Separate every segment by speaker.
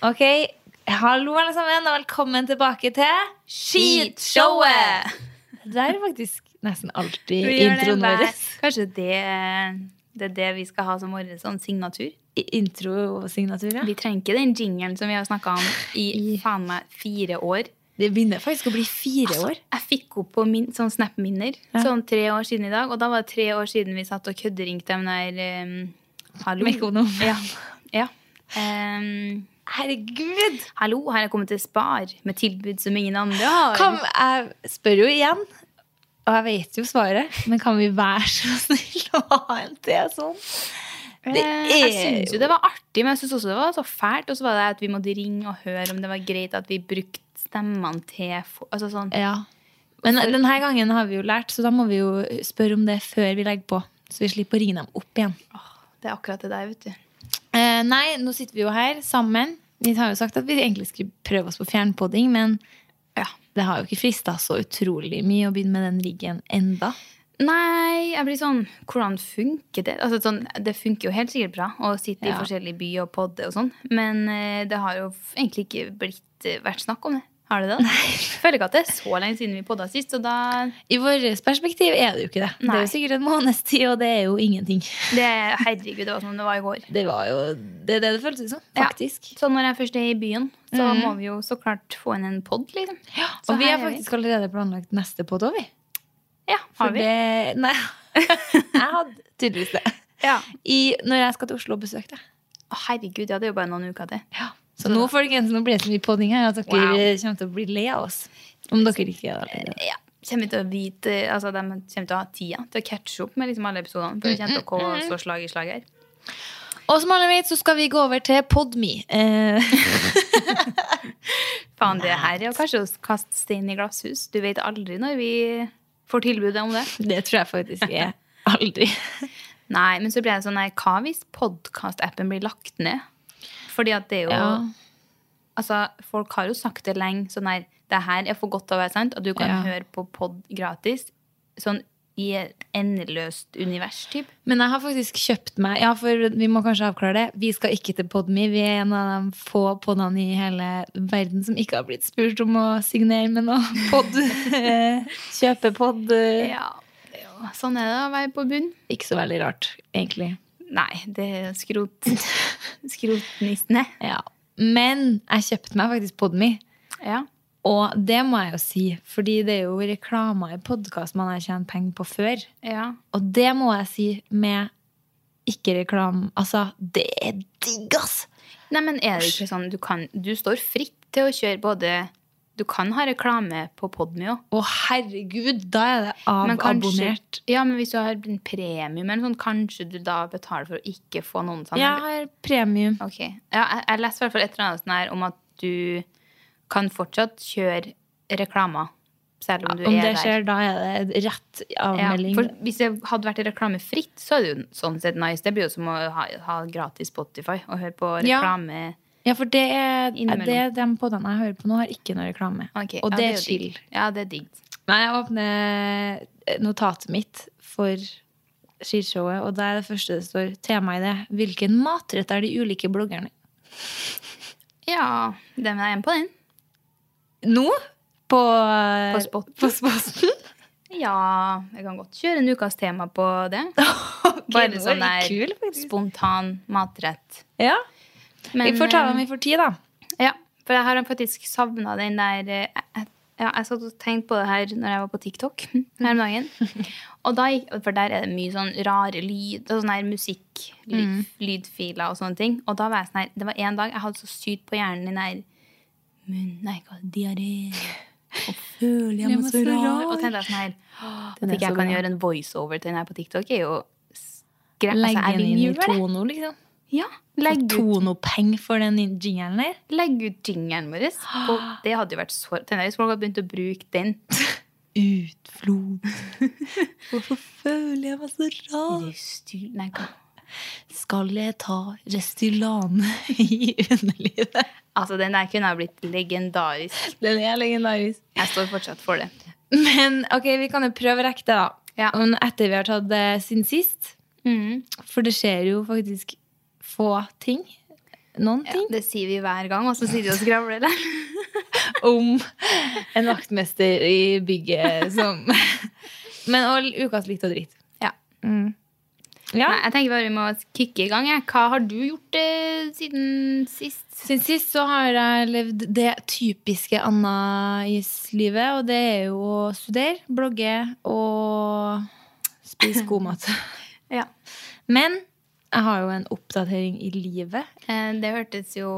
Speaker 1: Ok, hallo alle sammen, og velkommen tilbake til Skitshowet! Det er faktisk nesten alltid
Speaker 2: Vi gjør det
Speaker 1: introen
Speaker 2: hver-
Speaker 1: vår.
Speaker 2: Kanskje det, det er det vi skal ha som vår sånn signatur.
Speaker 1: I- Intro og signatur, ja.
Speaker 2: Vi trenger ikke den jingelen som vi har snakka om i
Speaker 1: I-
Speaker 2: faen meg fire år.
Speaker 1: Det begynner faktisk å bli fire år.
Speaker 2: Jeg fikk opp på min, sånn Snap-minner
Speaker 1: Ja.
Speaker 2: sånn tre år siden i dag, og da var det tre år siden vi satt og kødderingte dem der um, Hallo.
Speaker 1: Mekonom.
Speaker 2: Ja. ja. Em,
Speaker 1: Herregud!
Speaker 2: hallo, her er jeg kommet til Spar med tilbud som ingen andre har.
Speaker 1: Kan, jeg spør jo igjen, og jeg vet jo svaret, men kan vi være så snill å ha en til sånn?
Speaker 2: Eh,
Speaker 1: Det er
Speaker 2: jeg syns jo det var artig, men jeg syns også det var så fælt. Og så var det at vi måtte ringe og høre om det var greit at vi brukte stemmene til fo- altså sånn.
Speaker 1: Ja. Men denne gangen har vi jo lært, så da må vi jo spørre om det før vi legger på. Så vi slipper å ringe dem opp igjen.
Speaker 2: Det er akkurat det der, vet du.
Speaker 1: Eh, nei, nå sitter vi jo her sammen. Vi har jo sagt at vi egentlig skulle prøve oss på fjernpodding, men
Speaker 2: Ja.
Speaker 1: det har jo ikke frista så utrolig mye å begynne med den riggen enda.
Speaker 2: Nei, jeg blir sånn Hvordan funker det? Altså, sånn, det funker jo helt sikkert bra å sitte i
Speaker 1: Ja.
Speaker 2: forskjellige byer og podde og sånn, men eh, det har jo f- egentlig ikke blitt eh, vært snakk om det. Har det det? Jeg Føler ikke at det er så lenge siden vi podda sist, og da
Speaker 1: I vårt perspektiv er det jo ikke det. Det er
Speaker 2: Nei.
Speaker 1: jo sikkert en måneds tid, og det er jo ingenting.
Speaker 2: det, Herregud, det var som det var i går.
Speaker 1: Det var jo det, er det det føltes som,
Speaker 2: Ja.
Speaker 1: faktisk.
Speaker 2: Så når jeg først er i byen, så
Speaker 1: Mhm.
Speaker 2: må vi jo så klart få inn en pod, liksom. så
Speaker 1: og vi
Speaker 2: her
Speaker 1: har
Speaker 2: er vi.
Speaker 1: faktisk allerede planlagt neste podd òg, vi.
Speaker 2: Ja,
Speaker 1: For
Speaker 2: har vi?
Speaker 1: Det, nei, jeg hadde tydeligvis det.
Speaker 2: Ja.
Speaker 1: I, når jeg skal til Oslo og besøke deg.
Speaker 2: Å, herregud, ja, det er jo bare noen uker til.
Speaker 1: Så nå folkens, nå blir det så mye podding her at dere
Speaker 2: Wow.
Speaker 1: kommer til å bli lei av oss. Om dere ikke gjør det.
Speaker 2: Ja. Kommer til å vite, altså De kommer til å ha tida til å catche opp med liksom alle episodene. For det kommer til å gå så slag i slag her.
Speaker 1: Og som alle vet, så skal vi gå over til Podme. Eh,
Speaker 2: Faen, det her er jo kanskje å kaste stein i glasshus. Du vet aldri når vi får tilbudet om det.
Speaker 1: det tror jeg faktisk er aldri.
Speaker 2: Nei, men så blir jeg sånn, nei, hva hvis podkastappen blir lagt ned? Fordi at det er jo Altså, folk har jo sagt det lenge, sånn her Det her er for godt til å være sant, og du kan
Speaker 1: Ja.
Speaker 2: høre på pod gratis. Sånn i et endeløst univers, typ.
Speaker 1: Men jeg har faktisk kjøpt meg Ja, for vi må kanskje avklare det. Vi skal ikke til Podme. Vi er en av de få podene i hele verden som ikke har blitt spurt om å signere med noe pod. eh, Kjøpe pod. eh.
Speaker 2: Ja, det er jo- sånn er det å være på bunn.
Speaker 1: Ikke så veldig rart, egentlig.
Speaker 2: Nei, det er skrot, skrotnistene.
Speaker 1: Ja. Men jeg kjøpte meg faktisk Podme.
Speaker 2: Ja.
Speaker 1: Og det må jeg jo si, fordi det er jo reklamer i podkast man har tjent penger på før.
Speaker 2: ja.
Speaker 1: Og det må jeg si med ikke-reklame. Altså, det er digg, ass!
Speaker 2: Nei, men er det ikke sånn, du, kan, du står fritt til å kjøre både Du kan ha reklame på Podmio.
Speaker 1: Å, herregud, da er det
Speaker 2: Men kanskje,
Speaker 1: avabonnert.
Speaker 2: ja, men hvis du har en premium, eller sånn, kanskje du da betaler for å ikke få noen sånn?
Speaker 1: Jeg har premium.
Speaker 2: Ok. Ja, jeg, jeg leser i hvert fall et eller annet sånn her om at du kan fortsatt kjøre reklamer, selv om du
Speaker 1: Om
Speaker 2: er
Speaker 1: det
Speaker 2: der.
Speaker 1: skjer, da er det rett avmelding.
Speaker 2: Ja, for hvis det hadde vært reklamefritt, så er det jo sånn sett nice. Det blir jo som å ha, ha gratis Spotify og høre på
Speaker 1: Ja.
Speaker 2: reklame.
Speaker 1: Ja, for det er,
Speaker 2: Innimellom.
Speaker 1: det er dem podene jeg hører på nå, har ikke noe reklame.
Speaker 2: Ok,
Speaker 1: Og
Speaker 2: ja,
Speaker 1: det
Speaker 2: jo
Speaker 1: er chill.
Speaker 2: digg. Ja, det er digg.
Speaker 1: Nei, jeg åpner eh, notatet mitt for skishowet, og der er det første det står tema i det. Hvilken matrett er de ulike bloggerne?
Speaker 2: Ja, den er hjemme på den.
Speaker 1: Nå? På,
Speaker 2: På spotten.
Speaker 1: På spotten?
Speaker 2: Ja, jeg kan godt kjøre en ukas tema på det.
Speaker 1: nå
Speaker 2: Bare
Speaker 1: er
Speaker 2: sånn
Speaker 1: det
Speaker 2: der
Speaker 1: kul, faktisk.
Speaker 2: spontan matrett.
Speaker 1: Ja.
Speaker 2: Men,
Speaker 1: vi får ta
Speaker 2: eh,
Speaker 1: dem i for tid, da.
Speaker 2: Ja, for jeg har faktisk savna den der eh, jeg- ja, Jeg satt og tenkte på det her når jeg var på TikTok her om dagen. Og da gikk, for der er det mye sånn rare lyd og sånn her musikk, lyd,
Speaker 1: Mm.
Speaker 2: lydfiler og sånne ting. Og da var jeg sånn her, det var en dag jeg hadde så sykt på hjernen den der munn, Nei, hva, diaré. Og føler jeg meg så rar. Og tenkte jeg sånn her, «Åh,
Speaker 1: Den
Speaker 2: At
Speaker 1: er
Speaker 2: ikke jeg
Speaker 1: så
Speaker 2: kan
Speaker 1: bra.
Speaker 2: gjøre en voiceover til den her på TikTok, er jo skrevet. Altså,
Speaker 1: Legge
Speaker 2: jeg
Speaker 1: den
Speaker 2: vil
Speaker 1: inn i
Speaker 2: gjøre det.
Speaker 1: Tono, liksom.
Speaker 2: Ja,
Speaker 1: Legg
Speaker 2: legge ut
Speaker 1: Tono-peng for den in- jingelen der.
Speaker 2: Legg ut jingelen vår. Og det hadde jo vært så Tenk deg hvis folk hadde begynt å bruke den.
Speaker 1: Utflod. Hvorfor føler jeg meg så rar?
Speaker 2: Styr- Nei, hva?
Speaker 1: Skal jeg ta Restylane i underlivet?
Speaker 2: Altså, den der kunne ha blitt legendarisk.
Speaker 1: Den er legendarisk.
Speaker 2: Jeg står fortsatt for det.
Speaker 1: Men ok, vi kan jo prøve å rekke det, da.
Speaker 2: Ja.
Speaker 1: Men etter vi har tatt
Speaker 2: Mm.
Speaker 1: det siden sist. For det skjer jo faktisk få ting noen
Speaker 2: Ja,
Speaker 1: ting
Speaker 2: det sier vi hver gang, og så sitter vi og skravler der.
Speaker 1: om en vaktmester i bygget som Men og ukas likt og dritt.
Speaker 2: Ja.
Speaker 1: Mm. Ja.
Speaker 2: Nei, jeg tenker bare vi må kicke i gang. Jeg. Hva har du gjort eh, siden sist?
Speaker 1: Siden sist så har jeg levd det typiske Anna-livet, og det er jo å studere, blogge og spise god mat.
Speaker 2: Ja.
Speaker 1: Men jeg har jo en oppdatering i livet.
Speaker 2: Eh, Det hørtes jo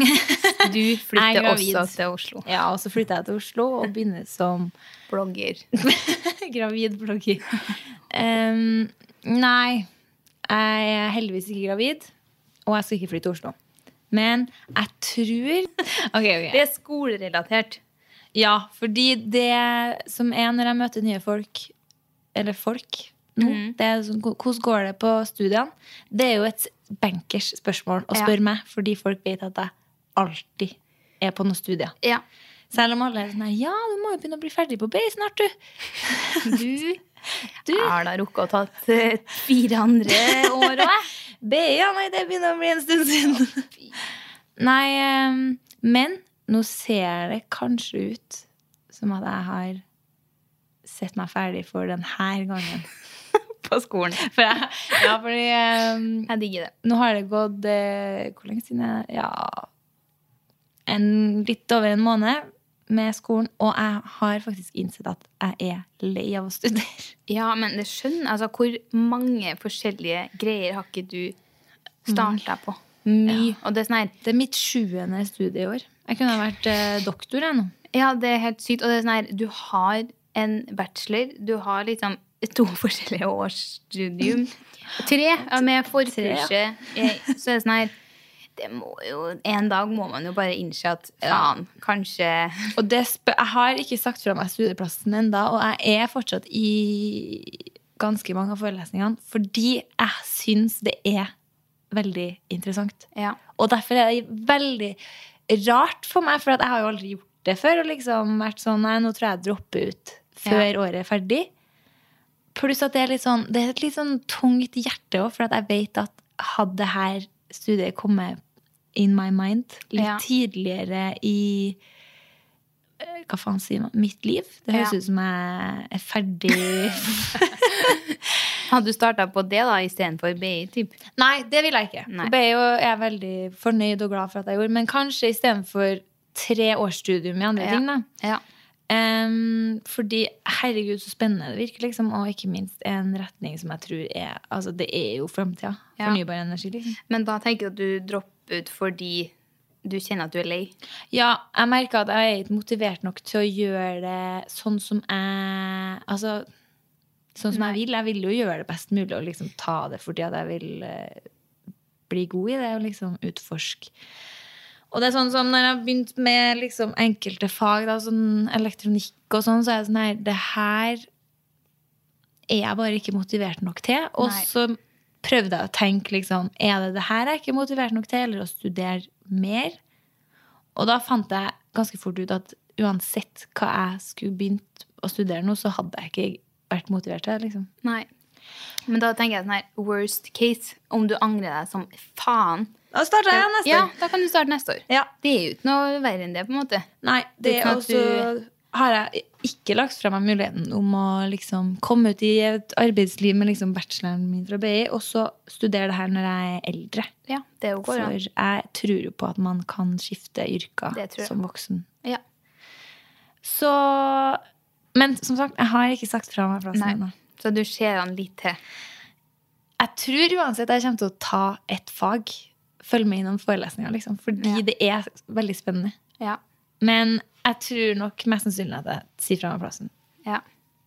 Speaker 2: Du flytter
Speaker 1: gravid.
Speaker 2: også til Oslo.
Speaker 1: Ja, Og så flytter jeg til Oslo og begynner som
Speaker 2: Blogger.
Speaker 1: gravid blogger. Em, nei, jeg er heldigvis ikke gravid, og jeg skal ikke flytte til Oslo. Men jeg tror Ok, ok.
Speaker 2: Det er skolerelatert.
Speaker 1: Ja, fordi det som er når jeg møter nye folk, eller folk nå, det er sånn, hvordan går det på studiene? Det er jo et bankers spørsmål å
Speaker 2: Ja.
Speaker 1: spørre meg, fordi folk vet at jeg alltid er på noen studier.
Speaker 2: Ja.
Speaker 1: Selv om alle er sånn her, ja, du må jo begynne å bli ferdig på B snart, du.
Speaker 2: Du,
Speaker 1: Du.
Speaker 2: Jeg har da rukket å tatt eh, fire andre år òg, jeg.
Speaker 1: B, ja, nei, det begynner å bli en stund siden. nei, ehm, men nå ser det kanskje ut som at jeg har sett meg ferdig for denne gangen.
Speaker 2: På skolen.
Speaker 1: For jeg, ja, fordi eh,
Speaker 2: Jeg digger det.
Speaker 1: nå har det gått eh, Hvor lenge siden? er det? Ja en, Litt over en måned med skolen. Og jeg har faktisk innsett at jeg er lei av å studere.
Speaker 2: Ja, men det skjønner jeg. Altså, hvor mange forskjellige greier har ikke du starta på? Mye. Og det er sånn her
Speaker 1: Det er mitt sjuende studieår. Jeg kunne ha vært eh, doktor jeg nå.
Speaker 2: Ja, det er helt sykt. Og det er sånn her, du har en bachelor, du har liksom to forskjellige års studium. Tre ja, med forkurset. Eh, Så er det sånn her det må jo, En dag må man jo bare innse at faen, kanskje
Speaker 1: Og det spør, jeg har ikke sagt fra meg studieplassen ennå, og jeg er fortsatt i ganske mange av forelesningene fordi jeg syns det er veldig interessant.
Speaker 2: Ja.
Speaker 1: Og derfor er det veldig rart for meg, for at jeg har jo aldri gjort det før. Og liksom vært sånn Nei, nå tror jeg jeg dropper ut før året er ferdig. Pluss at det er, litt sånn, det er et litt sånn tungt hjerte òg, for at jeg vet at hadde det her studiet kommet in my mind litt
Speaker 2: Ja.
Speaker 1: tidligere i eh, hva faen sier man? Mitt liv? Det høres
Speaker 2: Ja.
Speaker 1: ut som jeg er ferdig
Speaker 2: Hadde du starta på det da istedenfor BI, typ?
Speaker 1: Nei, det vil jeg ikke.
Speaker 2: Nei.
Speaker 1: For BI er jeg veldig fornøyd og glad for at jeg gjorde. Men kanskje istedenfor tre årsstudium i andre
Speaker 2: Ja.
Speaker 1: ting, da.
Speaker 2: Ja.
Speaker 1: Em, fordi herregud, så spennende det virker, liksom. Og ikke minst en retning som jeg tror er Altså, det er jo framtida.
Speaker 2: Ja.
Speaker 1: Fornybar energi, liksom.
Speaker 2: Men da tenker du at du dropper ut fordi du kjenner at du er lei?
Speaker 1: Ja, jeg merker at jeg er ikke motivert nok til å gjøre det sånn som jeg Altså sånn som jeg vil. Jeg vil jo gjøre det best mulig og liksom ta det fordi at jeg vil eh, bli god i det og liksom utforske. Og det er sånn som når jeg har begynt med liksom enkelte fag, da, sånn elektronikk og sånn, så er jeg sånn her Det her er jeg bare ikke motivert nok til. Og
Speaker 2: Nei.
Speaker 1: så prøvde jeg å tenke liksom Er det det her jeg ikke er motivert nok til, eller å studere mer? Og da fant jeg ganske fort ut at uansett hva jeg skulle begynt å studere nå, så hadde jeg ikke vært motivert til det. liksom.
Speaker 2: Nei. Men da tenker jeg sånn her, worst case, om du angrer deg som faen.
Speaker 1: Da starter jeg neste.
Speaker 2: Ja, da kan du starte neste år.
Speaker 1: Ja.
Speaker 2: Det er jo ikke noe verre enn det, på en måte.
Speaker 1: Nei, det
Speaker 2: Uten
Speaker 1: er
Speaker 2: at
Speaker 1: også har jeg ikke lagt fra meg muligheten om å liksom komme ut i et arbeidsliv med liksom bacheloren min fra BI, og så studere det her når jeg er eldre.
Speaker 2: Ja, det jo går
Speaker 1: For
Speaker 2: an.
Speaker 1: jeg tror jo på at man kan skifte yrker
Speaker 2: Det tror jeg.
Speaker 1: som voksen.
Speaker 2: Ja.
Speaker 1: Så Men som sagt, jeg har ikke sagt fra meg plassen
Speaker 2: Nei.
Speaker 1: ennå.
Speaker 2: Så du ser han litt til.
Speaker 1: Jeg tror uansett jeg kommer til å ta et fag. Følge med innom forelesninger, liksom. Fordi
Speaker 2: Ja.
Speaker 1: det er veldig spennende.
Speaker 2: Ja.
Speaker 1: Men jeg tror nok mest sannsynlig at jeg sier fra meg plassen.
Speaker 2: ja.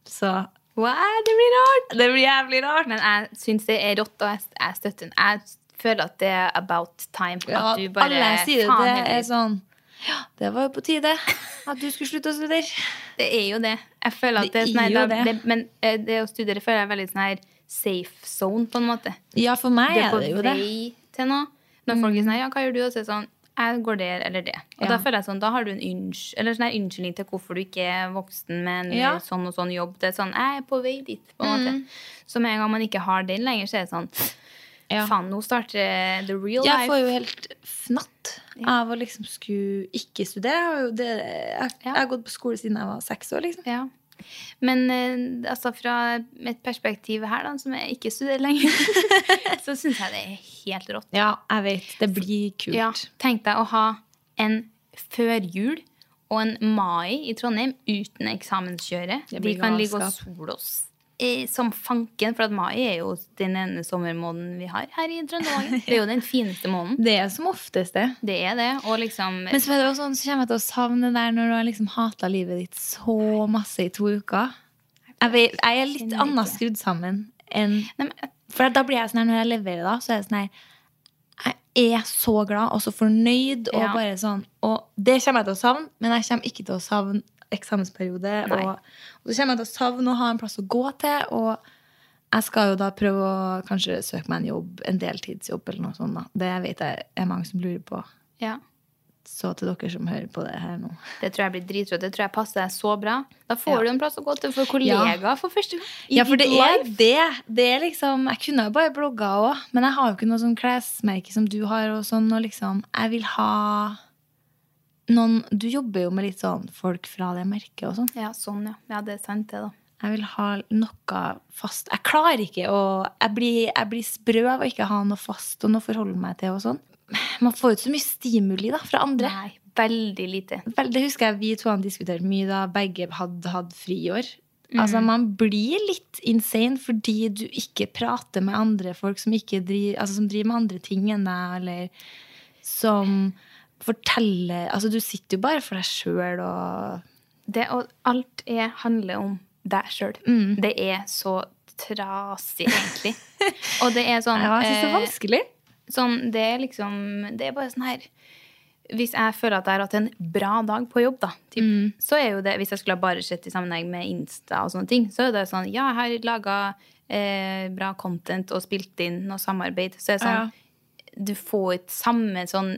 Speaker 1: Så
Speaker 2: Wow, det blir rart!
Speaker 1: det blir jævlig rart.
Speaker 2: Men jeg syns det er rått, og jeg, jeg støtter den. Jeg føler at det er about time.
Speaker 1: Ja,
Speaker 2: at du bare,
Speaker 1: alle jeg sier
Speaker 2: faen
Speaker 1: det, det
Speaker 2: heller.
Speaker 1: er sånn Ja, det var jo på tide at du skulle slutte å studere.
Speaker 2: Det er jo det. Jeg føler at det,
Speaker 1: Det
Speaker 2: er sånn
Speaker 1: er
Speaker 2: her,
Speaker 1: jo
Speaker 2: da,
Speaker 1: det.
Speaker 2: det. Men eh, det å studere føler jeg er veldig sånn her safe zone, på en måte.
Speaker 1: Ja, for meg
Speaker 2: Du er
Speaker 1: er
Speaker 2: på
Speaker 1: det jo det. Mm.
Speaker 2: vei til noe. Når folk er sånn her, ja, hva gjør du? Og så er det sånn, jeg går der eller det. Og da
Speaker 1: Ja.
Speaker 2: føler jeg sånn, da har du en unns, eller sånn her unnskyldning til hvorfor du ikke er voksen med en
Speaker 1: Ja. Mm.
Speaker 2: sånn og sånn jobb. Det er sånn, jeg er på vei dit, på en måte. Så med en gang man ikke har den lenger, så er det sånn,
Speaker 1: Ja.
Speaker 2: Faen, nå starter the real
Speaker 1: Jeg
Speaker 2: life.
Speaker 1: får jo helt fnatt
Speaker 2: Ja.
Speaker 1: av å liksom skulle ikke studere. Jeg har, jo det, jeg,
Speaker 2: Ja.
Speaker 1: jeg har gått på skole siden jeg var seks år, liksom.
Speaker 2: Ja. Men eh, altså fra et perspektiv her, da, som jeg ikke studerer lenger, så syns jeg det er helt rått.
Speaker 1: Ja, jeg vet. Det blir kult.
Speaker 2: Ja, Tenk deg å ha en førjul og en mai i Trondheim uten eksamenskjøre.
Speaker 1: Det
Speaker 2: Vi
Speaker 1: blir
Speaker 2: kan ligge og
Speaker 1: galskap.
Speaker 2: sole oss eh, som fanken, for at mai er jo den ene sommermåneden vi har her i Trøndelag. Det er jo den fineste måneden.
Speaker 1: Det er som oftest det.
Speaker 2: Det er det. Og liksom
Speaker 1: Men så, er det også sånn, så kommer jeg til å savne det der når du har liksom hata livet ditt så masse i to uker. Jeg, vet, jeg er litt
Speaker 2: Kjenner ikke.
Speaker 1: annet skrudd sammen enn
Speaker 2: Nei, men eh, jeg-
Speaker 1: For da blir jeg sånn her, når jeg leverer da, så er jeg sånn her Jeg er så glad og så fornøyd og
Speaker 2: Ja.
Speaker 1: bare sånn Og det kommer jeg til å savne, men jeg kommer ikke til å savne eksamensperiode.
Speaker 2: Nei.
Speaker 1: Og, og så kommer jeg til å savne å ha en plass å gå til. Og jeg skal jo da prøve å kanskje søke meg en jobb, en deltidsjobb eller noe sånt. da. Det vet jeg er mange som lurer på.
Speaker 2: ja.
Speaker 1: Så til dere som hører på det her nå.
Speaker 2: Det tror jeg blir dritrått. Det tror jeg passer deg så bra. Da får du en plass å gå til for kollegaer for første gang. i
Speaker 1: Ja, for det
Speaker 2: ditt
Speaker 1: er
Speaker 2: liv.
Speaker 1: det. det er liksom, jeg kunne jo bare blogga òg, men jeg har jo ikke noe sånn klesmerke som du har. og sånn, og liksom, Jeg vil ha noen Du jobber jo med litt sånn folk fra det merket og sånn.
Speaker 2: Ja, sånn, ja. Ja, det er sant, det, da.
Speaker 1: Jeg vil ha noe fast. Jeg klarer ikke å Jeg blir, jeg blir sprø av å ikke ha noe fast og noe å forholde meg til og sånn. Man får jo ikke så mye stimuli da, fra andre.
Speaker 2: Nei, veldig lite.
Speaker 1: Vel, det husker jeg vi to han diskuterte mye da begge hadde hatt friår. Altså, man blir litt insane fordi du ikke prater med andre folk som, ikke driver, altså, som driver med andre ting enn deg, eller som forteller Altså, du sitter jo bare for deg sjøl og
Speaker 2: Det, og alt er, handler om deg sjøl.
Speaker 1: Mm.
Speaker 2: Det er så trasig, egentlig. og det er sånn
Speaker 1: Ja, jeg syns det er
Speaker 2: eh,
Speaker 1: vanskelig.
Speaker 2: Sånn, det er liksom Det er bare sånn her Hvis jeg føler at jeg har hatt en bra dag på jobb, da, typ,
Speaker 1: Mm.
Speaker 2: så er jo det Hvis jeg skulle ha bare sett i sammenheng med Insta og sånne ting, så er det sånn Ja, jeg har laga eh, bra content og spilt inn noe samarbeid. Så er det sånn Du får ikke samme sånn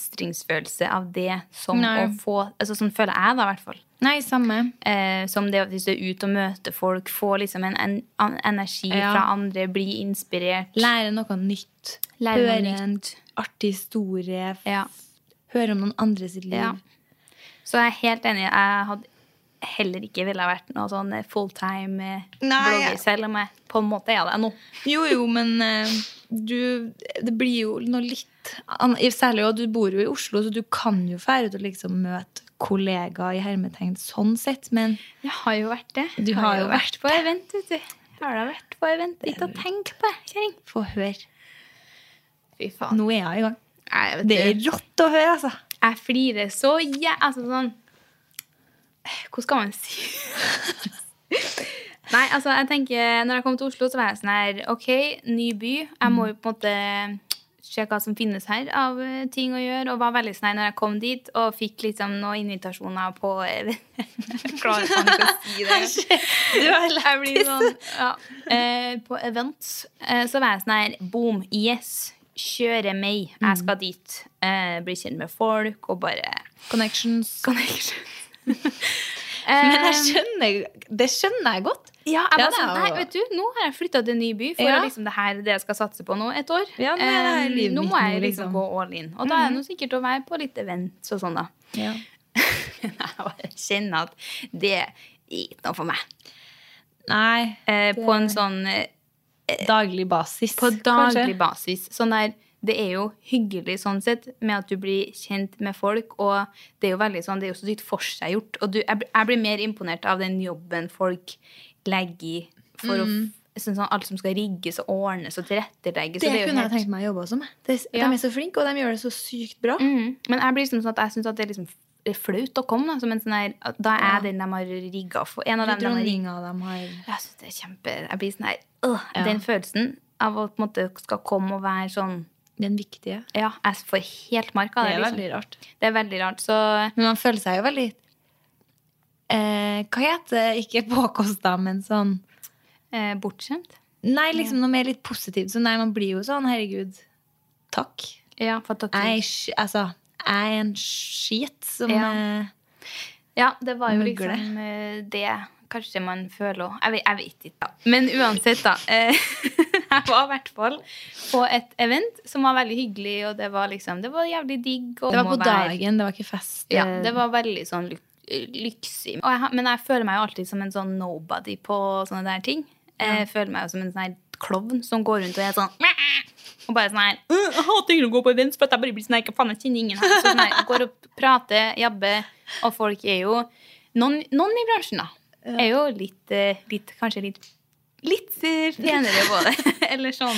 Speaker 2: mestringsfølelse av det som
Speaker 1: Nei.
Speaker 2: å få altså Sånn føler jeg da, i hvert fall.
Speaker 1: Nei, samme.
Speaker 2: Eh, som det at hvis du er ute og møter folk, får liksom en, en, an- energi
Speaker 1: Ja.
Speaker 2: fra andre, bli inspirert.
Speaker 1: Lære noe nytt.
Speaker 2: Lære noe
Speaker 1: høre en artig historie. f-
Speaker 2: Ja.
Speaker 1: Høre om noen andre sitt liv.
Speaker 2: Ja. Så jeg er helt enig. Jeg hadde heller ikke ville ha vært noe sånn fulltime eh,
Speaker 1: Nei,
Speaker 2: blogger,
Speaker 1: jeg-
Speaker 2: selv om jeg på en måte er det nå.
Speaker 1: Jo, jo, men eh, du Det blir jo noe litt an- Særlig jo, du bor jo i Oslo, så du kan jo fære ut og liksom møte kollegaer i hermetegn sånn sett, men
Speaker 2: Jeg har jo vært det.
Speaker 1: Du
Speaker 2: Jeg
Speaker 1: har jo vært
Speaker 2: på event, vet du. Jeg har da vært på event. Ikke å tenke på, kjerring.
Speaker 1: få høre.
Speaker 2: Fy faen.
Speaker 1: Nå er jeg i gang.
Speaker 2: Nei, vet
Speaker 1: Det er
Speaker 2: du,
Speaker 1: rått å høre, altså.
Speaker 2: jeg flirer så jæ... Altså sånn Hva skal man si? Nei, altså, jeg tenker Når jeg kom til Oslo, så var jeg sånn her OK, ny by. Jeg må jo på en måte se hva som finnes her av eh, ting å gjøre. Og var veldig sånn her når jeg kom dit og fikk liksom noen invitasjoner på eh, Jeg klarer faen ikke å si det.
Speaker 1: Du har
Speaker 2: Jeg blir sånn, ja. eh, på events eh, så var jeg sånn her Boom, yes, kjøre meg. Jeg
Speaker 1: Mm.
Speaker 2: skal dit. Eh, bli kjent med folk og bare
Speaker 1: connections. Eh,
Speaker 2: Connection.
Speaker 1: Men jeg skjønner Det skjønner jeg godt.
Speaker 2: Ehm, Ja, jeg
Speaker 1: Ja,
Speaker 2: bare sånn,
Speaker 1: det er
Speaker 2: nei,
Speaker 1: jo-
Speaker 2: vet du, nå har jeg flytta til en ny by, for
Speaker 1: Ja.
Speaker 2: å liksom, det her er det jeg skal satse på nå et år.
Speaker 1: Ja, nå er det her
Speaker 2: Eh,
Speaker 1: livet
Speaker 2: nå
Speaker 1: mitt
Speaker 2: må jeg
Speaker 1: nå, liksom. Mhm.
Speaker 2: liksom gå all in. Og da er det nå sikkert å være på litt events og sånn, da. jeg bare kjenner at det er ikke noe for meg.
Speaker 1: Nei.
Speaker 2: Eh,
Speaker 1: Det-
Speaker 2: på en sånn eh,
Speaker 1: Daglig basis.
Speaker 2: På daglig
Speaker 1: kanskje.
Speaker 2: basis. Sånn der, det er jo hyggelig sånn sett, med at du blir kjent med folk. Og det er jo veldig sånn, det er jo så sykt forseggjort. Og du, jeg, blir- jeg blir mer imponert av den jobben folk legger i for å f- sånn, sånn, alt som skal rigges og ordnes og
Speaker 1: Mm.
Speaker 2: tilrettelegges.
Speaker 1: Det
Speaker 2: og er jo
Speaker 1: kunne jeg
Speaker 2: helt-
Speaker 1: tenkt meg å jobbe også med. De,
Speaker 2: Ja.
Speaker 1: de er så flinke, og de gjør det så sykt bra.
Speaker 2: Mm. Men jeg blir liksom sånn at jeg syns det er liksom f- flaut å komme. Da, som en sånn her, at da er jeg den de har rigga for. En av dem de har rigget
Speaker 1: Dronninga de har
Speaker 2: Jeg synes det er kjempe Jeg blir sånn her øh,
Speaker 1: Ja.
Speaker 2: Den følelsen av å på en måte skal komme og være sånn
Speaker 1: Den viktige.
Speaker 2: Ja, jeg får helt mark av det. liksom.
Speaker 1: rart.
Speaker 2: det er veldig rart. Så
Speaker 1: Men man føler seg jo veldig eh, Hva heter det? Ikke påkosta, men sånn
Speaker 2: eh, bortskjemt.
Speaker 1: Nei, liksom noe mer litt positivt. Så nei, man blir jo sånn, herregud, takk.
Speaker 2: Ja, for at dere-
Speaker 1: Jeg, er sk- altså, jeg er en skit som
Speaker 2: Ja.
Speaker 1: eh,
Speaker 2: ja, det var jo
Speaker 1: Mugle.
Speaker 2: liksom eh, det kanskje man føler òg. Jeg, vet- jeg vet ikke, da. Men uansett, da. eh, jeg var i hvert fall på et event som var veldig hyggelig, og det var liksom, det var jævlig digg. Og
Speaker 1: Det var
Speaker 2: må
Speaker 1: på
Speaker 2: være-
Speaker 1: dagen, det var ikke fest.
Speaker 2: Ja, det var veldig sånn luk lyksig. Og jeg, har- men jeg føler meg jo alltid som en sånn nobody på sånne der ting. Jeg føler meg jo som en sånn her klovn som går rundt og er sånn Og bare sånn her «Øh, Jeg hater å gå på events, for at jeg bare blir sånn her «Hva faen, jeg kjenner ingen her. Så sånn her, går og prater, jabber, og folk er jo Noen, noen i bransjen, da, er jo litt, eh, litt Kanskje litt Litt eh, penere på det. Eller sånn.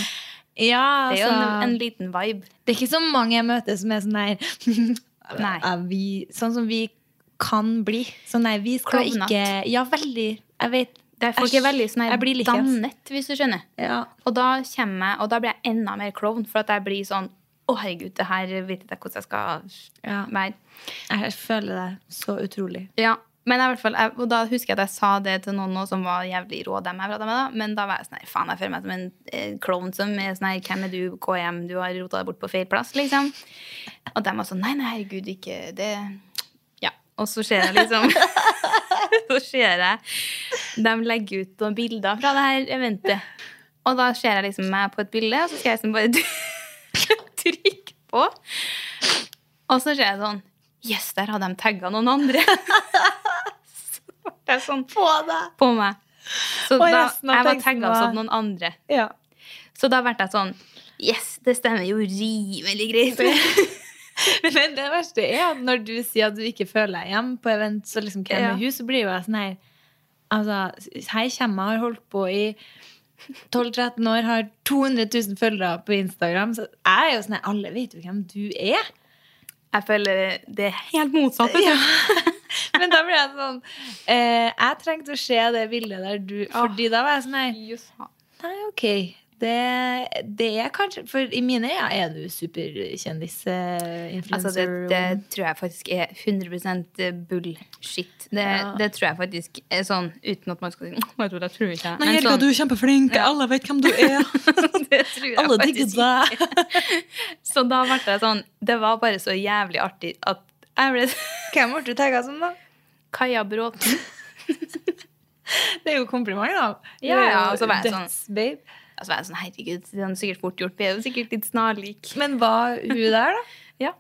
Speaker 1: Ja,
Speaker 2: Det er jo en,
Speaker 1: altså,
Speaker 2: en liten vibe.
Speaker 1: det er ikke så mange jeg møter som er sånn der
Speaker 2: Nei.
Speaker 1: Er vi, Sånn som vi kan bli. Sånn nei, vi skal
Speaker 2: Klovnete.
Speaker 1: ikke Ja, veldig. Jeg vet.
Speaker 2: Der folk er veldig sånn her
Speaker 1: Jeg blir like, ass.
Speaker 2: dannet, hvis du skjønner.
Speaker 1: Ja.
Speaker 2: Og da kommer jeg, og da blir jeg enda mer klovn, for at jeg blir sånn Å, herregud, det her vet ikke jeg hvordan jeg skal
Speaker 1: ja.
Speaker 2: være.
Speaker 1: Jeg føler det så utrolig.
Speaker 2: Ja, men jeg, i hvert fall, jeg, og da husker jeg at jeg sa det til noen nå som var jævlig rå, dem jeg pratet med, da. Men da var jeg sånn her, faen, jeg føler meg som en eh, klovn som er sånn her, hvem er du, KM, du har rota deg bort på feil plass, liksom. Og dem var sånn, nei, nei, herregud, ikke det Ja. Og så ser jeg liksom Så ser jeg dem legge ut noen bilder fra det her eventet. Og da ser jeg liksom meg på et bilde, og så skal jeg liksom bare trykke på. Og så ser jeg sånn Yes, der hadde de tagga noen andre. så ble jeg sånn
Speaker 1: Få deg!
Speaker 2: på meg. Så
Speaker 1: Og
Speaker 2: da,
Speaker 1: resten av
Speaker 2: jeg var
Speaker 1: teksten
Speaker 2: tagga
Speaker 1: var-
Speaker 2: som noen andre.
Speaker 1: Ja.
Speaker 2: Så da ble jeg sånn Yes, det stemmer jo rimelig greit.
Speaker 1: Men det verste er at når du sier at du ikke føler deg hjemme på event, så liksom hvem
Speaker 2: Ja.
Speaker 1: er hun, så blir jo jeg sånn her Altså, her kommer jeg, har holdt på i 12-13 år, har 200 000 følgere på Instagram, så jeg er jo sånn her Alle vet jo hvem du er.
Speaker 2: Jeg føler det er helt motsatt.
Speaker 1: Ja. Men da ble jeg sånn eh, Jeg trengte å se det bildet der du Fordi da var jeg sånn her Nei, OK. Det, det er kanskje For i mine øyne er du eh, superkjendis-influencer.
Speaker 2: Altså, det, det tror jeg faktisk er 100 bullshit. Det,
Speaker 1: Ja.
Speaker 2: det tror jeg faktisk er sånn uten at man skal si «Åh, Jeg tror jeg tror ikke jeg».
Speaker 1: Nei,
Speaker 2: Men
Speaker 1: Helga,
Speaker 2: sånn,
Speaker 1: du er kjempeflink.
Speaker 2: Ja.
Speaker 1: Alle vet hvem du er.
Speaker 2: det tror jeg
Speaker 1: Alle digger
Speaker 2: faktisk ikke.
Speaker 1: deg.
Speaker 2: Så da ble jeg sånn Det var bare så jævlig artig at jeg ble
Speaker 1: Hvem ble du tagga som, da?
Speaker 2: Kaja Bråten.
Speaker 1: Det er jo kompliment, da.
Speaker 2: Ja,
Speaker 1: Det er
Speaker 2: ja,
Speaker 1: jo
Speaker 2: og så var jeg sånn-
Speaker 1: dødsbabe.
Speaker 2: Og så var jeg sånn Herregud, det er sikkert fort gjort. Vi er jo sikkert litt snarlik.
Speaker 1: Men var hun der, da?
Speaker 2: Ja.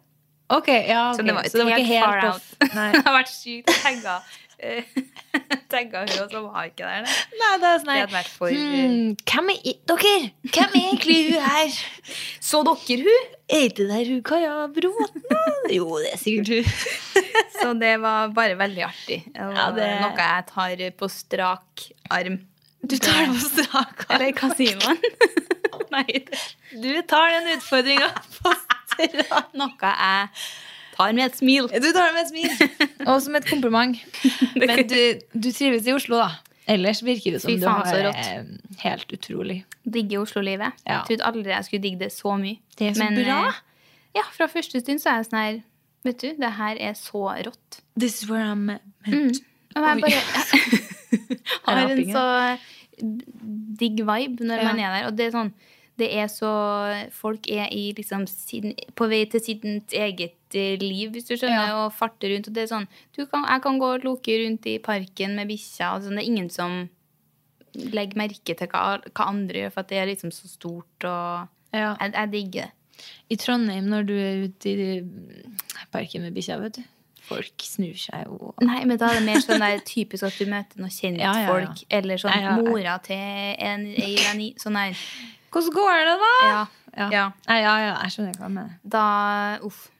Speaker 1: Ok, ja,
Speaker 2: Så
Speaker 1: ok.
Speaker 2: det var et
Speaker 1: ikke
Speaker 2: helt far
Speaker 1: off. Nei.
Speaker 2: Jeg har vært sykt tagga. eh, Tagga hun, og så var hun ikke der. det.
Speaker 1: Nei, det er sånn
Speaker 2: Det
Speaker 1: her,
Speaker 2: hadde vært for eh.
Speaker 1: hmm, Hvem er i, dere? Hvem er egentlig hun her?
Speaker 2: Så dere hun?
Speaker 1: Er ikke det der hun Kaja Bråten? da? Jo, det er sikkert hun.
Speaker 2: Så det var bare veldig artig. Det var
Speaker 1: Ja, det-
Speaker 2: Noe jeg tar på strak arm.
Speaker 1: Du tar det på strak arm.
Speaker 2: Eller hva sier man? Nei, det-
Speaker 1: Du tar den utfordringa på strak arm.
Speaker 2: noe jeg tar med et smil.
Speaker 1: Du tar det med et smil. Og som et kompliment. Men du, du trives i Oslo, da. Ellers virker det som
Speaker 2: Fy
Speaker 1: du
Speaker 2: faen,
Speaker 1: har
Speaker 2: så
Speaker 1: det
Speaker 2: rått.
Speaker 1: eh, helt utrolig.
Speaker 2: Digger Oslo-livet.
Speaker 1: Ja.
Speaker 2: Trodde aldri jeg skulle digge det så mye.
Speaker 1: Det er så bra.
Speaker 2: eh, Ja, fra første stund så er jeg sånn her Vet du, det her er så rått.
Speaker 1: This is where I'm at.
Speaker 2: Og jeg
Speaker 1: Oi.
Speaker 2: bare har en
Speaker 1: Rapingen.
Speaker 2: så digg vibe når man
Speaker 1: Ja.
Speaker 2: er der. Og det er sånn det er så Folk er i liksom sin, på vei til sitt eget eh, liv, hvis du skjønner, og farter rundt. Og det er sånn du kan, Jeg kan gå og loke rundt i parken med bikkja. Og sånn, det er ingen som legger merke til hva, hva andre gjør, for at det er liksom så stort, og
Speaker 1: Ja.
Speaker 2: jeg, jeg digger det.
Speaker 1: I Trondheim, når du er ute i parken med bikkja, vet du. Folk snur seg jo.
Speaker 2: Nei, men da er det mer sånn der typisk at du møter noen kjente
Speaker 1: Ja, ja, ja.
Speaker 2: folk. Eller sånn
Speaker 1: Ja, ja, ja.
Speaker 2: mora til en ei venni. Sånn der.
Speaker 1: Hvordan går det, da?
Speaker 2: Ja.
Speaker 1: Ja.
Speaker 2: ja.
Speaker 1: Nei, ja, ja, jeg skjønner hva du mener.
Speaker 2: Da Uff.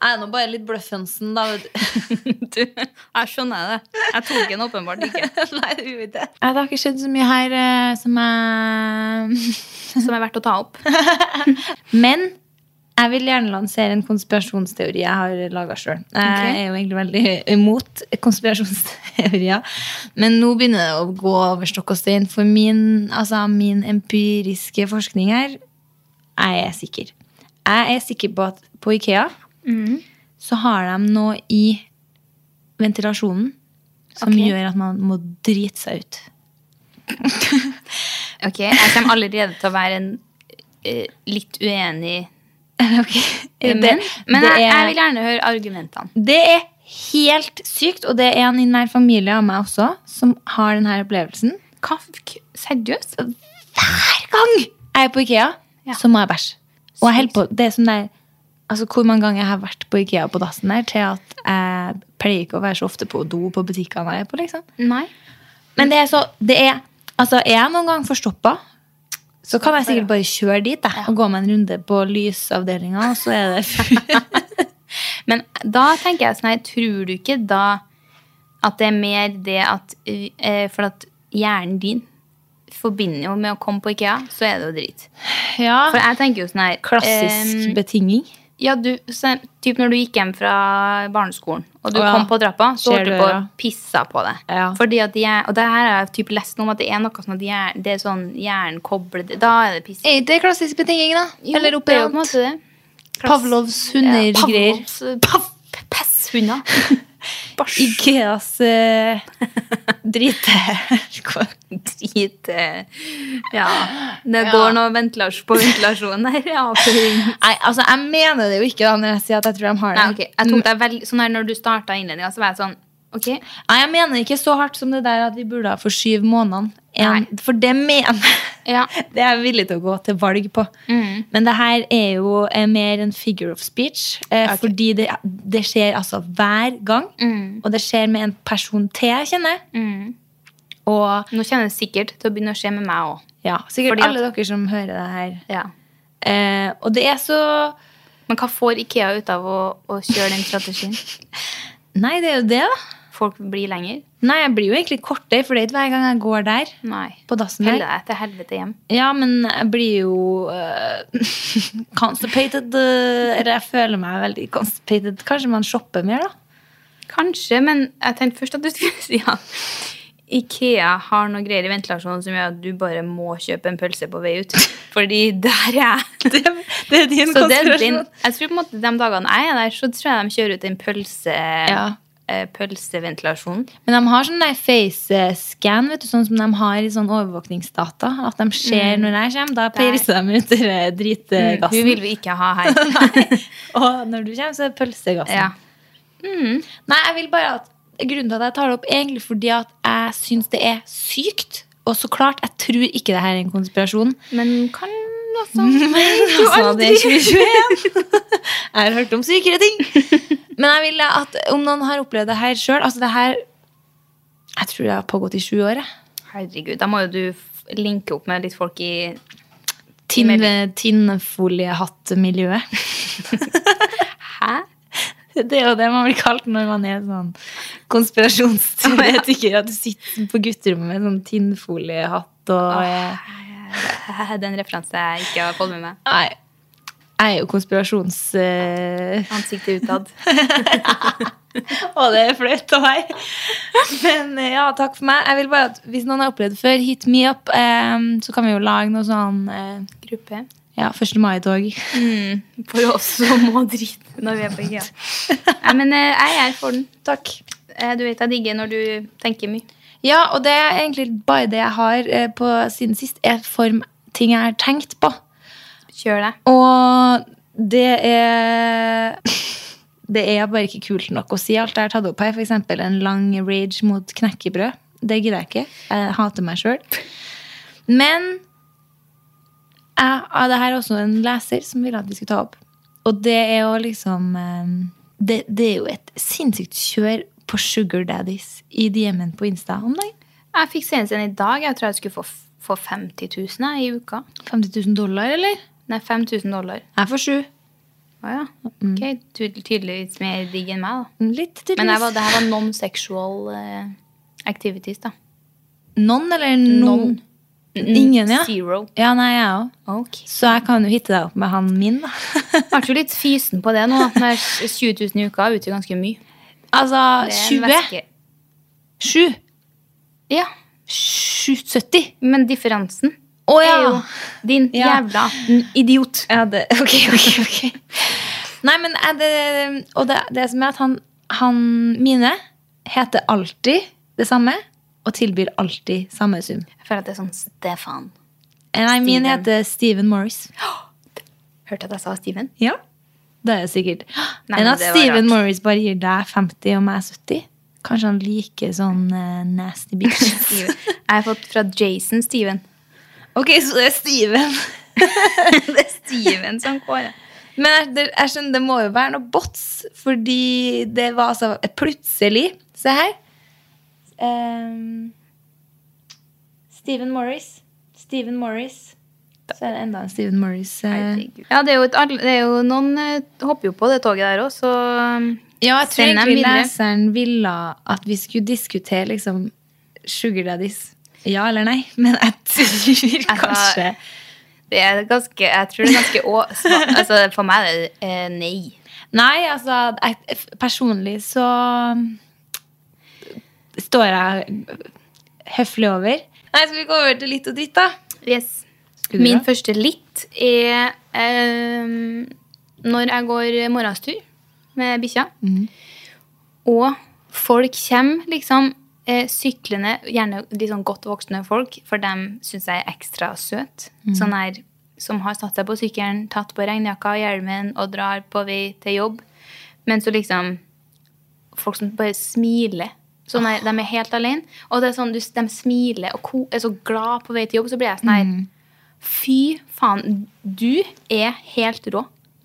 Speaker 1: Jeg er nå bare litt bløffensen, da. vet du.
Speaker 2: Du, jeg skjønner det. Jeg tok den åpenbart ikke.
Speaker 1: Nei, du vet det. Nei, det har ikke skjedd så mye her eh, som jeg
Speaker 2: Som er verdt å ta opp.
Speaker 1: Men jeg vil gjerne lansere en konspirasjonsteori jeg har laga sjøl. Jeg er jo egentlig veldig imot konspirasjonsteorier. Men nå begynner det å gå over stokk og stein, for min, altså, min empiriske forskning her Jeg er sikker. Jeg er sikker på at på Ikea
Speaker 2: Mm.
Speaker 1: så har de noe i ventilasjonen som
Speaker 2: Ok.
Speaker 1: gjør at man må drite seg ut.
Speaker 2: Ok, Jeg kommer allerede til å være en eh, litt uenig eh,
Speaker 1: Det-
Speaker 2: Men, men
Speaker 1: det
Speaker 2: jeg,
Speaker 1: er-
Speaker 2: jeg vil gjerne høre argumentene.
Speaker 1: Det er helt sykt, og det er en i nær familie av meg også som har denne opplevelsen.
Speaker 2: Kafk, seriøst?
Speaker 1: Hver gang jeg er på Ikea,
Speaker 2: Ja.
Speaker 1: så må jeg bæsje. Og jeg holder på det er sånn der, altså Hvor mange ganger jeg har vært på Ikea på dassen der til at jeg pleier ikke å være så ofte på do på butikkene jeg er på. liksom.
Speaker 2: Nei.
Speaker 1: Men det er så det er, altså Er jeg noen gang forstoppa, så kan jeg sikkert bare kjøre dit jeg, og gå meg en runde på lysavdelinga, og så er det
Speaker 2: Men da tenker jeg sånn her, tror du ikke da at det er mer det at eh, For at hjernen din forbinder jo med å komme på IKEA, så er det jo dritt.
Speaker 1: ja,
Speaker 2: For jeg tenker jo sånn her
Speaker 1: klassisk
Speaker 2: eh,
Speaker 1: betinging.
Speaker 2: Ja, du, så, typ når du gikk hjem fra barneskolen, og du
Speaker 1: Å ja.
Speaker 2: kom på trappa, så
Speaker 1: Ser
Speaker 2: holdt du
Speaker 1: du,
Speaker 2: på
Speaker 1: ja.
Speaker 2: å pisse på deg.
Speaker 1: Ja.
Speaker 2: Fordi at jeg, og det her har jeg typ lest noe om at det er noe sånn at hjernen, det er sånn hjernen kobler det- Da er det piss.
Speaker 1: Er ikke det klassisk betinging, da?
Speaker 2: Jo,
Speaker 1: Eller
Speaker 2: det er jo på en
Speaker 1: operant?
Speaker 2: måte det.
Speaker 1: Pavlovs
Speaker 2: Ja,
Speaker 1: hunder-greier.
Speaker 2: Pavlovs, eh, pav- Pesshunder. Bæsj.
Speaker 1: Ikeas eh, drite.
Speaker 2: Drit eh, Ja. Det går noe ventilasjon på ventilasjon der. Ja, for-
Speaker 1: Nei, altså, jeg mener det jo ikke da når jeg sier at jeg tror de har det.
Speaker 2: Nei, ok. Jeg tok deg veldig Sånn her når du starta innledninga, så var jeg sånn Ok.
Speaker 1: Nei, jeg mener ikke så hardt som det der at vi burde ha forskyvd månedene. En- For det mener jeg.
Speaker 2: Ja.
Speaker 1: Det er jeg villig til å gå til valg på.
Speaker 2: Mm.
Speaker 1: Men det her er jo eh, mer en figure of speech. Eh,
Speaker 2: Ok.
Speaker 1: Fordi det, det skjer altså hver gang.
Speaker 2: Mm.
Speaker 1: Og det skjer med en person til jeg kjenner.
Speaker 2: Mm.
Speaker 1: Og
Speaker 2: Nå kjenner det sikkert til å begynne å skje med meg òg.
Speaker 1: ja, sikkert
Speaker 2: Fordi at-
Speaker 1: alle dere som hører det her.
Speaker 2: Ja.
Speaker 1: Eh, og det er så
Speaker 2: Men hva får Ikea ut av å, å kjøre den strategien?
Speaker 1: Nei, det er jo det, da.
Speaker 2: Folk blir lenger?
Speaker 1: Nei, jeg blir jo egentlig kortere, for det er ikke hver gang jeg går der.
Speaker 2: Nei.
Speaker 1: På dassen
Speaker 2: Følg
Speaker 1: der.
Speaker 2: deg til helvete hjem.
Speaker 1: Ja, men jeg blir jo eh, constipated. eh, Eller jeg føler meg veldig constipated. Kanskje man shopper mer, da?
Speaker 2: Kanskje, men jeg tenkte først at du skulle si at Ikea har noe greier i ventilasjonen som gjør at du bare må kjøpe en pølse på vei ut. Fordi der er jeg.
Speaker 1: Det, er din
Speaker 2: Så den, din, jeg tror på en måte de dagene jeg er der, så tror jeg de kjører ut den pølse,
Speaker 1: Ja.
Speaker 2: eh, pølseventilasjonen.
Speaker 1: Men de har sånn der face-scan, vet du, sånn som de har i sånn overvåkningsdata. At de ser når jeg kommer. Da
Speaker 2: Der.
Speaker 1: peiser de ut den der
Speaker 2: Hun
Speaker 1: dritgassen.
Speaker 2: vil vi ikke ha her.
Speaker 1: Og når du kommer, så er det pølsegassen.
Speaker 2: Ja.
Speaker 1: Nei, jeg vil bare at Grunnen til at jeg tar det opp, egentlig fordi at jeg syns det er sykt. Og så klart, jeg tror ikke det her er en konspirasjon.
Speaker 2: Men kan altså
Speaker 1: Altså,
Speaker 2: aldri.
Speaker 1: det er 2021. jeg har hørt om sykere ting. Men jeg vil at om noen har opplevd det her sjøl altså det her, Jeg tror det har pågått i sju år. jeg.
Speaker 2: Herregud, da må jo du f- linke opp med litt folk i
Speaker 1: Tinn- Tinnfoliehattmiljøet.
Speaker 2: Hæ?
Speaker 1: Det er jo det man blir kalt når man er sånn konspirasjonsteoretiker. At du sitter på gutterommet med sånn tinnfoliehatt og er
Speaker 2: Den referansen jeg ikke har fått med meg.
Speaker 1: Nei. Jeg er jo konspirasjons... eh,
Speaker 2: Ansiktet utad.
Speaker 1: Og det er flaut av meg. Men eh, ja, takk for meg. Jeg vil bare at Hvis noen har opplevd det før, hit me up. eh, så kan vi jo lage noe sånn eh,
Speaker 2: Gruppe. Mm,
Speaker 1: ja, 1. mai-tog.
Speaker 2: For oss som må drite når vi er på IKEA. Nei, men eh, jeg er her for den.
Speaker 1: Takk.
Speaker 2: Eh, Du vet jeg digger når du tenker mye.
Speaker 1: Ja, og det er egentlig bare det jeg har eh, på siden sist, er form ting jeg har tenkt på.
Speaker 2: Kjør deg.
Speaker 1: Og det er Det er bare ikke kult nok å si alt jeg har tatt opp her. F.eks. en lang rage mot knekkebrød. Det gidder jeg ikke. Jeg hater meg sjøl. Men jeg, ja, det her er også en leser som ville at vi skulle ta opp. Og det er jo liksom eh, Det, det er jo et sinnssykt kjør på Sugar Daddies i DM-en på Insta om dagen.
Speaker 2: Jeg fikk senest en i dag. Jeg tror jeg skulle få, f- få 50 000 jeg, i uka.
Speaker 1: 50 000 dollar, eller?
Speaker 2: Nei, 5000 dollar.
Speaker 1: Jeg får sju.
Speaker 2: Å ja. Ok, ty tydeligvis mer digg enn meg, da.
Speaker 1: Litt, tydeligvis.
Speaker 2: Men jeg var, det her var non-sexual eh, activities, da.
Speaker 1: Non eller noen?
Speaker 2: Non.
Speaker 1: Ingen, ja.
Speaker 2: Mm, Zero.
Speaker 1: Ja, nei, jeg òg.
Speaker 2: Ok.
Speaker 1: Så jeg kan jo hitte deg opp med han min, da.
Speaker 2: Jeg ble jo litt fysen på det nå. at når 20 000 i uka utgjør ganske mye.
Speaker 1: altså
Speaker 2: Det er en
Speaker 1: 20?
Speaker 2: væske.
Speaker 1: 7?
Speaker 2: Ja,
Speaker 1: 70?
Speaker 2: men differansen
Speaker 1: Å
Speaker 2: er
Speaker 1: ja!
Speaker 2: jo din
Speaker 1: Ja.
Speaker 2: jævla idiot.
Speaker 1: ja det, ok, ok, ok. Nei, men er det Og det, det som er at han, han mine heter alltid det samme og tilbyr alltid samme sum.
Speaker 2: Jeg føler at det er sånn Stefan.
Speaker 1: Nei, min
Speaker 2: Steven.
Speaker 1: heter Steven Morris.
Speaker 2: Hørte at jeg sa Steven?
Speaker 1: Ja. Det er det sikkert.
Speaker 2: Nei,
Speaker 1: Enn
Speaker 2: men
Speaker 1: at
Speaker 2: det var
Speaker 1: Steven
Speaker 2: rart.
Speaker 1: Morris bare gir deg 50 og meg 70. Kanskje han liker sånn eh, nasty bitches.
Speaker 2: Steven. Jeg har fått fra Jason Steven.
Speaker 1: Å Ok, så det er Steven.
Speaker 2: det er Steven som kårer.
Speaker 1: Men jeg, det- jeg skjønner, det må jo være noe bots, fordi det var altså plutselig Se her. Ehm, Stephen Morris. Stephen Morris. Så er det enda en Stephen Morris. eh.
Speaker 2: Ja, det er jo, et, all- det er jo noen eh, hopper jo på det toget der òg, så um,
Speaker 1: Ja, jeg tror
Speaker 2: Send dem
Speaker 1: egentlig
Speaker 2: videre.
Speaker 1: leseren ville at vi skulle diskutere liksom Sugar Daddies. Ja eller nei? Men jeg tror kanskje
Speaker 2: det er ganske, jeg tror det er ganske å, sma- altså, For meg er det eh, nei.
Speaker 1: Nei, altså jeg, Personlig så står jeg høflig over. Nei, skal vi gå over til litt og dritt, da?
Speaker 2: Yes.
Speaker 1: Skulle du
Speaker 2: Min
Speaker 1: da?
Speaker 2: første litt er eh, når jeg går morgenstur med bikkja, og folk kommer liksom eh, syklende, gjerne de sånn godt voksne folk, for dem syns jeg er ekstra søt. Sånn her som har satt seg på sykkelen, tatt på regnjakka og hjelmen og drar på vei til jobb. Men så liksom folk som bare smiler. Sånn er,
Speaker 1: Ah.
Speaker 2: De er helt alene. Og det er sånn, du, de smiler og ko, er så glad på vei til jobb. Så blir jeg sånn her
Speaker 1: Mm.
Speaker 2: Fy faen, du er helt rå.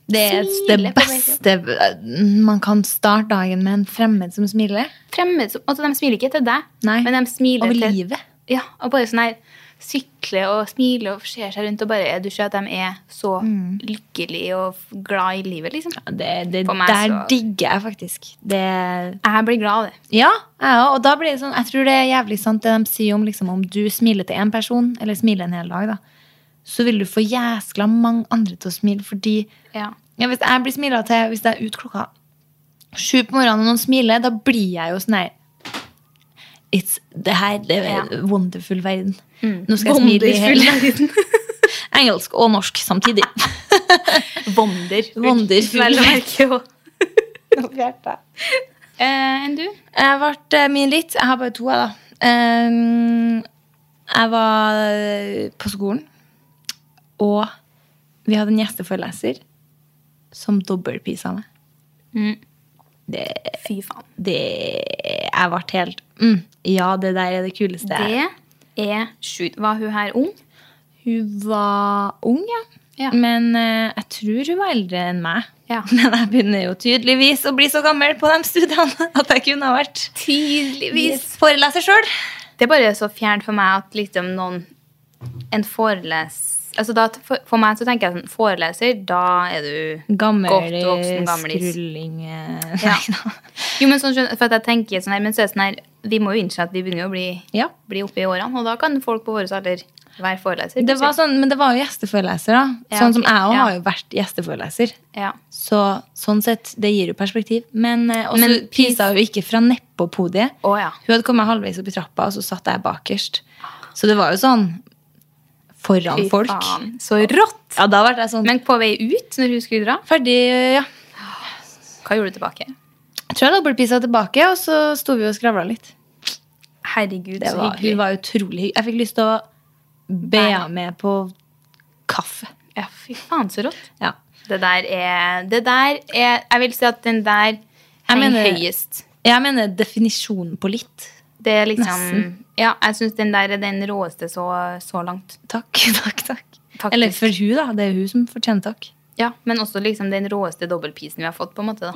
Speaker 1: Det er
Speaker 2: Smile
Speaker 1: det
Speaker 2: på vei til-
Speaker 1: beste eh, Man kan starte dagen med en fremmed som smiler.
Speaker 2: Fremmed som- altså, De smiler ikke til deg,
Speaker 1: Nei,
Speaker 2: men de smiler
Speaker 1: Over
Speaker 2: til
Speaker 1: livet.
Speaker 2: Ja, og bare sånn her sykle og smile og ser seg rundt og bare Du ser at de er så
Speaker 1: Mm.
Speaker 2: lykkelige og f- glad i livet, liksom.
Speaker 1: Det, det,
Speaker 2: For meg
Speaker 1: der
Speaker 2: så-
Speaker 1: digger jeg faktisk. Det
Speaker 2: Jeg blir glad av det.
Speaker 1: Ja, jeg òg. Og da blir det sånn, jeg tror det er jævlig sant det de sier om liksom, om du smiler til én person, eller smiler en hel dag, da, så vil du få jæskla mange andre til å smile. Fordi
Speaker 2: Ja.
Speaker 1: ja, hvis jeg blir smila til hvis jeg er ute klokka sju på morgenen og noen smiler, da blir jeg jo sånn her It's, det her det er en wonderful verden.
Speaker 2: Mm.
Speaker 1: Nå skal jeg smile i hele engelsk og norsk samtidig.
Speaker 2: Wonder.
Speaker 1: Wonderful.
Speaker 2: Vel å merke også.
Speaker 1: jeg
Speaker 2: Eh, Enn du?
Speaker 1: ble eh, min litt. Jeg har bare to, jeg, da. Ehm, Jeg var eh, på skolen, og vi hadde en gjesteforeleser som dobbeltpisa meg.
Speaker 2: Mm.
Speaker 1: Det,
Speaker 2: Fy faen.
Speaker 1: det Jeg ble helt mm, Ja, det der er det kuleste.
Speaker 2: Det er sjukt. Var hun her ung?
Speaker 1: Hun var ung, ja.
Speaker 2: Ja.
Speaker 1: Men eh, jeg tror hun var eldre enn meg.
Speaker 2: Ja.
Speaker 1: Men jeg begynner jo tydeligvis å bli så gammel på de studiene at jeg kunne ha vært
Speaker 2: Tydeligvis.
Speaker 1: foreleser sjøl.
Speaker 2: Det er bare så fjernt for meg at liksom noen En foreles... Altså da, for, for meg så tenker jeg sånn Foreleser, da er du
Speaker 1: Gammel
Speaker 2: Godt voksen gamlis.
Speaker 1: skrulling eh,
Speaker 2: Ja.
Speaker 1: nei da.
Speaker 2: Jo, men sånn skjønner For at jeg tenker sånn her, men så er det sånn her Vi må jo innse at vi begynner jo å bli,
Speaker 1: Ja.
Speaker 2: bli oppe i årene, og da kan folk på vår alder være foreleser.
Speaker 1: Det var sånn, men det var jo gjesteforeleser, da.
Speaker 2: Ja,
Speaker 1: sånn som
Speaker 2: ok.
Speaker 1: jeg òg
Speaker 2: Ja.
Speaker 1: har jo vært gjesteforeleser.
Speaker 2: Ja.
Speaker 1: Så sånn sett, det gir jo perspektiv. Men eh, også
Speaker 2: Men pis-
Speaker 1: pisa jo ikke fra nedpå podiet.
Speaker 2: Å ja.
Speaker 1: Hun hadde kommet halvveis opp i trappa, og så satt jeg bakerst. Så det var jo sånn foran
Speaker 2: Fy
Speaker 1: folk.
Speaker 2: faen, Så rått!
Speaker 1: Ja, da ble jeg sånn
Speaker 2: Men på vei ut, når hun skulle dra,
Speaker 1: ferdig, ja.
Speaker 2: hva gjorde du tilbake?
Speaker 1: Jeg tror jeg dobbeltpisa tilbake, og så sto vi og skravla litt.
Speaker 2: Herregud,
Speaker 1: Det
Speaker 2: så
Speaker 1: var,
Speaker 2: hyggelig.
Speaker 1: hun var utrolig hyggelig. Jeg fikk lyst til å be henne med på kaffe.
Speaker 2: Ja, fy faen, så rått.
Speaker 1: Ja.
Speaker 2: Det der er Det der er Jeg vil si at den der er
Speaker 1: mener-
Speaker 2: høyest.
Speaker 1: Jeg mener definisjonen på litt.
Speaker 2: Det er liksom
Speaker 1: Nesten.
Speaker 2: Ja, jeg syns den der er den råeste så, så langt.
Speaker 1: Takk, takk, takk.
Speaker 2: Faktisk.
Speaker 1: Eller for hun, da. Det er hun som fortjener takk.
Speaker 2: Ja, Men også liksom den råeste dobbeltprisen vi har fått. på en måte da.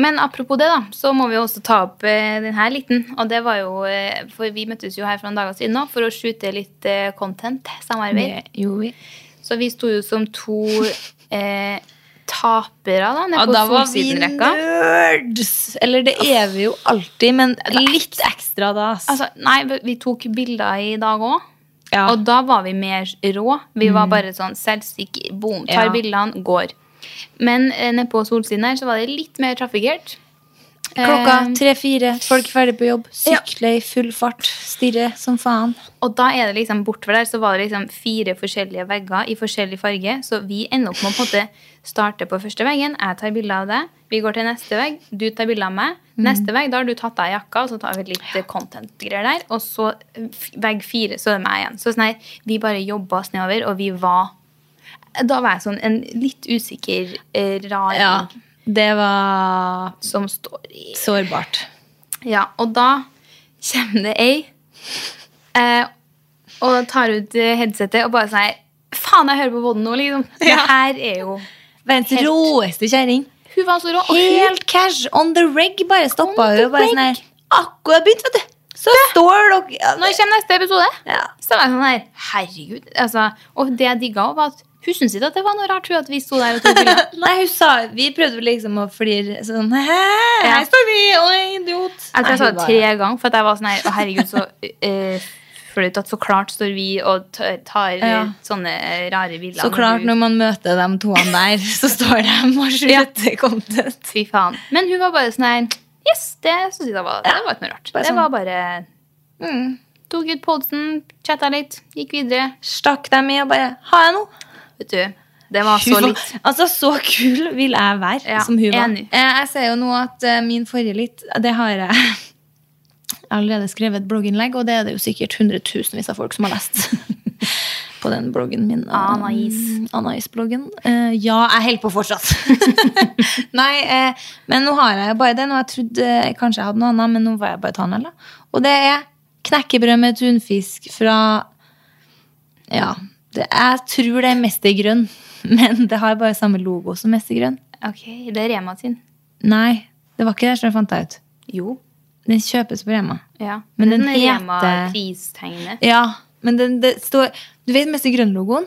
Speaker 2: Men apropos det, da, så må vi jo også ta opp eh, den her liten. Og det var jo eh, For vi møttes jo her for noen dager siden nå for å skjute litt eh, content. Samarbeid.
Speaker 1: Det gjorde vi.
Speaker 2: Så vi sto jo som to eh, tapere da, nede
Speaker 1: Ja,
Speaker 2: på
Speaker 1: da var vi
Speaker 2: Solsiden-rekka.
Speaker 1: nerds! Eller det er vi jo alltid, men litt ekstra da. ass.
Speaker 2: Altså, nei, vi- vi tok bilder i dag òg.
Speaker 1: ja. Mm.
Speaker 2: Og da var vi mer rå. Vi var bare sånn selvstikk, boom, tar
Speaker 1: Ja.
Speaker 2: bildene, går. Men eh, nede på solsiden her så var det litt mer trafikkert.
Speaker 1: Klokka
Speaker 2: Eh,
Speaker 1: tre-fire, folk er ferdig på jobb,
Speaker 2: ja.
Speaker 1: sykler i full fart, stirrer som faen.
Speaker 2: og da er det liksom bortover der så var det liksom fire forskjellige vegger i forskjellig farge. Så vi ender opp med å på en måte starte på første veggen. Jeg tar bilde av deg. Vi går til neste vegg. Du tar bilde av meg. Neste vegg, da har du tatt av jakka, og så tar vi litt eh, content-greier der. Og så eh, f- vegg fire, så er det meg igjen. Så sånn her, vi bare jobba oss nedover, og vi var Da var jeg sånn en litt usikker, eh, rar
Speaker 1: Ja. Det var
Speaker 2: som står i
Speaker 1: sårbart.
Speaker 2: ja, og da kommer det ei eh, Og da tar hun ut eh, headsetet og bare sier Faen, jeg hører på podden nå, liksom. Det her er jo
Speaker 1: Verdens
Speaker 2: Helt-
Speaker 1: råeste kjerring.
Speaker 2: Hun var så rå. Og hun,
Speaker 1: Helt cash. On the reg. Bare stoppa
Speaker 2: On the
Speaker 1: hun. og Bare sånn her Akkurat begynt, vet du. Så står dere ja,
Speaker 2: når kommer neste episode?
Speaker 1: ja.
Speaker 2: Så var jeg sånn her Herregud. Altså, og det jeg digga, var at hun syntes ikke at det var noe rart, hun, at vi sto der og tok bilder.
Speaker 1: Nei, hun sa Vi prøvde liksom å flire sånn Hæ,
Speaker 2: Ja.
Speaker 1: her står vi, og en idiot.
Speaker 2: Jeg tror jeg
Speaker 1: Nei,
Speaker 2: sa
Speaker 1: hun
Speaker 2: det
Speaker 1: var-
Speaker 2: tre ganger, for at jeg var sånn her Å, herregud, så eh, flaut at så klart står vi og t- tar eh,
Speaker 1: Ja.
Speaker 2: sånne eh, rare bilder.
Speaker 1: Så klart, når man møter de toene der, så står de og skjuter content.
Speaker 2: Fy faen. Men hun var bare sånn her Yes, det synes jeg var, det var ikke noe rart.
Speaker 1: Bare
Speaker 2: Det
Speaker 1: sånn.
Speaker 2: var bare
Speaker 1: Mm.
Speaker 2: Tok ut podden, chatta litt, gikk videre.
Speaker 1: Stakk dem i og bare Har jeg noe?
Speaker 2: Vet du, det var så
Speaker 1: Hun var-
Speaker 2: litt
Speaker 1: Altså, så kul vil jeg være
Speaker 2: Ja,
Speaker 1: som hun var.
Speaker 2: enig.
Speaker 1: Eh, Jeg ser jo nå at eh, min forrige litt, det har jeg allerede skrevet et blogginnlegg, og det er det jo sikkert hundretusenvis av folk som har lest. På den bloggen min.
Speaker 2: Anais.
Speaker 1: Mm, Anais-bloggen. Eh, ja, jeg holder på fortsatt. Nei, eh, men nå har jeg jo bare den, og jeg trodde eh, kanskje jeg hadde noe annet, men nå var jeg bare tannhell, da. Og det er knekkebrød med tunfisk fra ja. Det, jeg tror det er Mestergrønn, men det har bare samme logo som Mestergrønn.
Speaker 2: Ok, det er Rema sin.
Speaker 1: Nei, det var ikke det, så jeg fant jeg ut.
Speaker 2: Jo.
Speaker 1: Den kjøpes på Rema.
Speaker 2: Ja.
Speaker 1: Men den
Speaker 2: er
Speaker 1: heter-
Speaker 2: Rema-pristegnet.
Speaker 1: Ja, men den, det står Du vet Mestergrønn-logoen?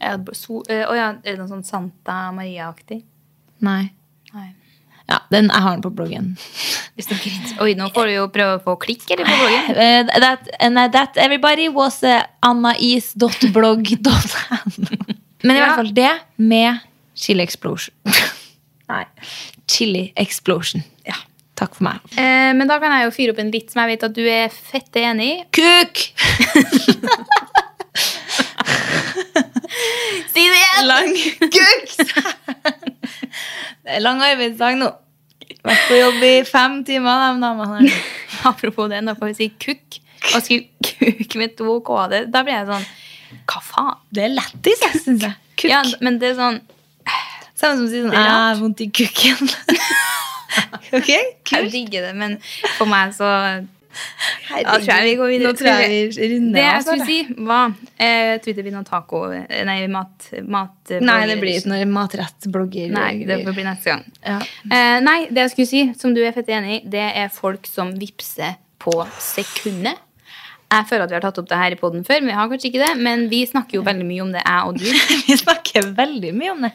Speaker 2: Ja, so, eh, å ja, er det noe sånn Santa Maria-aktig?
Speaker 1: Nei.
Speaker 2: Nei.
Speaker 1: Ja, den, jeg har den på bloggen.
Speaker 2: Oi, nå får du jo prøve å få klikk eller på bloggen.
Speaker 1: Eh, that, and that everybody was uh, annais.blogg.no. Men i
Speaker 2: Ja.
Speaker 1: hvert fall det med chili explosion. Nei. Chili explosion. Ja. Takk for meg.
Speaker 2: Eh, men da kan jeg jo fyre opp en vits som jeg vet at du er fette enig i.
Speaker 1: Kuk!
Speaker 2: Si det igjen!
Speaker 1: Lang guks! Det er lang arbeidsdag nå. Vært på jobb i fem timer, de damene her.
Speaker 2: Apropos det, nå får vi si kukk. Og skriv kuk med to k-er. Da blir jeg sånn Hva faen?
Speaker 1: Det er lættis, jeg, syns jeg. Kukk.
Speaker 2: Ja, men det er sånn
Speaker 1: Samme som å si sånn
Speaker 2: Det er
Speaker 1: Jeg
Speaker 2: rart.
Speaker 1: har vondt i kukken. ok?
Speaker 2: Jeg
Speaker 1: Kukk.
Speaker 2: digger det, men for meg så Da tror jeg vi går videre.
Speaker 1: Nå tror jeg vi runder
Speaker 2: Det jeg
Speaker 1: av. snart,
Speaker 2: skulle si, var eh, Jeg tror ikke det blir noen taco eh, Nei, mat... mat eh,
Speaker 1: jeg. Nei, det blir ikke noe matrettblogger.
Speaker 2: Nei, det får bli neste gang.
Speaker 1: Ja.
Speaker 2: Eh, nei, det jeg skulle si, som du er fett enig i, det er folk som vipser på sekundet. Jeg føler at vi har tatt opp det her i poden før, men vi har kanskje ikke det. Men vi snakker jo veldig mye om det, jeg og du.
Speaker 1: Vi snakker veldig mye om det.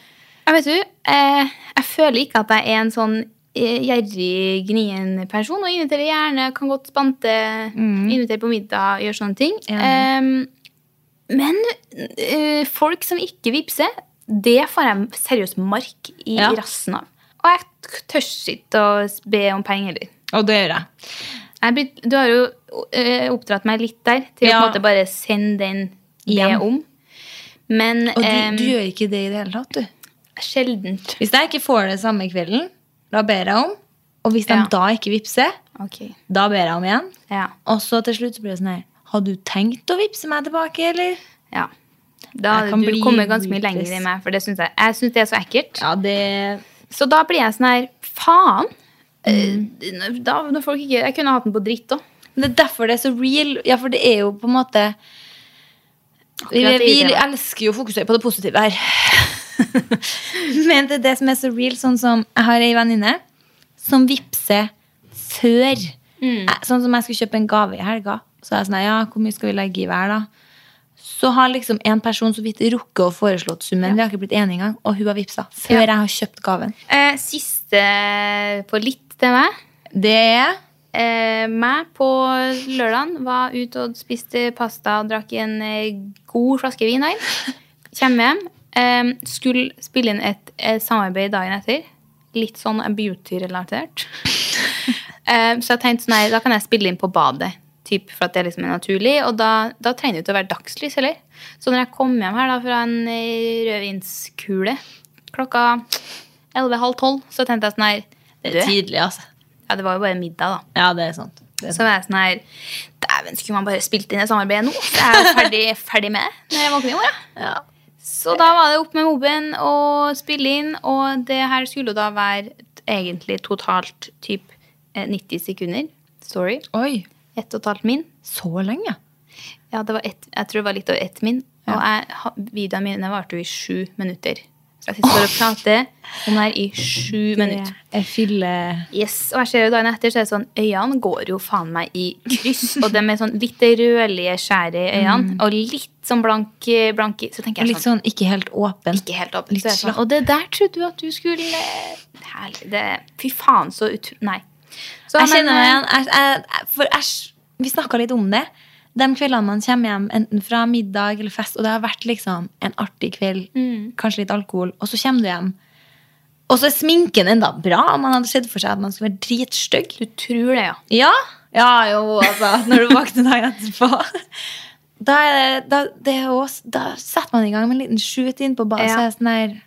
Speaker 2: Jeg vet du, eh, jeg føler ikke at jeg er en sånn eh, gjerrig, gnien person. Og inviterer gjerne, kan godt spante,
Speaker 1: Mm.
Speaker 2: invitere på middag, gjøre sånne ting.
Speaker 1: Enig.
Speaker 2: Eh, men eh, folk som ikke vipser, det får jeg seriøst mark i
Speaker 1: Ja.
Speaker 2: rassen av. Og jeg tør ikke å be om penger heller.
Speaker 1: Og det gjør jeg.
Speaker 2: Jeg er blitt- Du har jo eh, oppdratt meg litt der til å på
Speaker 1: Ja.
Speaker 2: en måte bare sende den be
Speaker 1: Hjem.
Speaker 2: om. Men
Speaker 1: Og du,
Speaker 2: em,
Speaker 1: du gjør ikke det i det hele tatt, du.
Speaker 2: sjeldent.
Speaker 1: Hvis jeg ikke får det samme kvelden, da ber jeg om. Og hvis de
Speaker 2: Ja.
Speaker 1: da ikke vippser,
Speaker 2: Ok,
Speaker 1: da ber jeg om igjen.
Speaker 2: ja.
Speaker 1: Og så til slutt så blir det sånn her Har du tenkt å vippse meg tilbake, eller?
Speaker 2: Ja. Da
Speaker 1: Jeg
Speaker 2: hadde
Speaker 1: kan
Speaker 2: du
Speaker 1: bli
Speaker 2: kommet ganske mye
Speaker 1: utless.
Speaker 2: lenger enn meg, for det synes jeg, jeg synes det er så ekkelt.
Speaker 1: Ja, det
Speaker 2: Så da blir jeg sånn her Faen! Eh,
Speaker 1: Mm.
Speaker 2: Da, når folk ikke, jeg kunne hatt den på dritt òg.
Speaker 1: Men det er derfor det er så real. Ja, for det er jo på en måte Vi,
Speaker 2: Akkurat det
Speaker 1: vi
Speaker 2: irriterer meg.
Speaker 1: elsker jo å fokusere på det positive her. Men det er det som er så real. Sånn som jeg har ei venninne som vippser før. Jeg- Sånn som jeg skulle kjøpe en gave i helga. Så er jeg sånn Ja, hvor mye skal vi legge i hver, da? Så har liksom en person så vidt rukket å foreslå summen. Vi har ikke blitt enige engang, og hun har vippsa før jeg har kjøpt gaven.
Speaker 2: Eh, siste på litt til meg.
Speaker 1: Det er
Speaker 2: Eh, meg på lørdagen var ute og spiste pasta og drakk en eh, god flaske vin. Der. Kjem hjem. Eh, skulle spille inn et, eh, samarbeid dagen etter. Litt sånn beauty-relatert. eh, så jeg tenkte sånn, nei, da kan jeg spille inn på badet. Typ, for at det liksom er naturlig. Og da, da trenger det ikke å være dagslys heller. Så når jeg kom hjem her da fra en eh, rødvinskule klokka 11.30, så tenkte jeg sånn her du,
Speaker 1: tidlig, altså.
Speaker 2: Ja, det var jo bare middag, da.
Speaker 1: Ja, det er sant. Det er sant.
Speaker 2: Så var jeg sånn her Dæven, skulle man bare spilt inn et samarbeid nå? Så jeg er jo ferdig, ferdig med det når jeg våkner i morgen.
Speaker 1: Ja.
Speaker 2: Så da var det opp med moben og spille inn, og det her skulle jo da være egentlig totalt typ eh, 90 sekunder. Sorry.
Speaker 1: Oi.
Speaker 2: Ett og et halvt min.
Speaker 1: Så lenge?
Speaker 2: Ja, det var ett- jeg tror det var litt over ett min. Og jeg, ha- videoene mine varte jo i sju minutter. Så jeg sitter bare og prater om det her i sju minutter.
Speaker 1: Jeg fyller
Speaker 2: Yes, Og jeg ser jo dagen etter, så er det sånn Øynene går jo faen meg i kryss. Og de er sånn litt rødlige skjær i øynene. Og litt sånn blank, blank i- Så tenker jeg
Speaker 1: Mm. litt
Speaker 2: sånn
Speaker 1: sånn ikke helt åpen.
Speaker 2: Ikke helt åpen.
Speaker 1: Litt
Speaker 2: Så er jeg sånn,
Speaker 1: slapp.
Speaker 2: og det der trodde du at du skulle Herlig. Det, fy faen, så ut... Nei. Så,
Speaker 1: Jeg
Speaker 2: men, eh,
Speaker 1: kjenner meg igjen. Jeg, jeg, jeg- for æsj, vi snakka litt om det. De kveldene man kommer hjem enten fra middag eller fest, og det har vært liksom en artig kveld,
Speaker 2: Mm.
Speaker 1: kanskje litt alkohol, og så kommer du hjem. Og så er sminken enda bra. Man hadde sett for seg at man skulle være dritstygg.
Speaker 2: Du tror det, ja.
Speaker 1: Ja. ja, jo, altså. Når du våkner dagen etterpå. Da, er det- da, det er jo også, da setter man i gang med en liten shoot inn på badet.
Speaker 2: Ja.
Speaker 1: så er det Sånn her,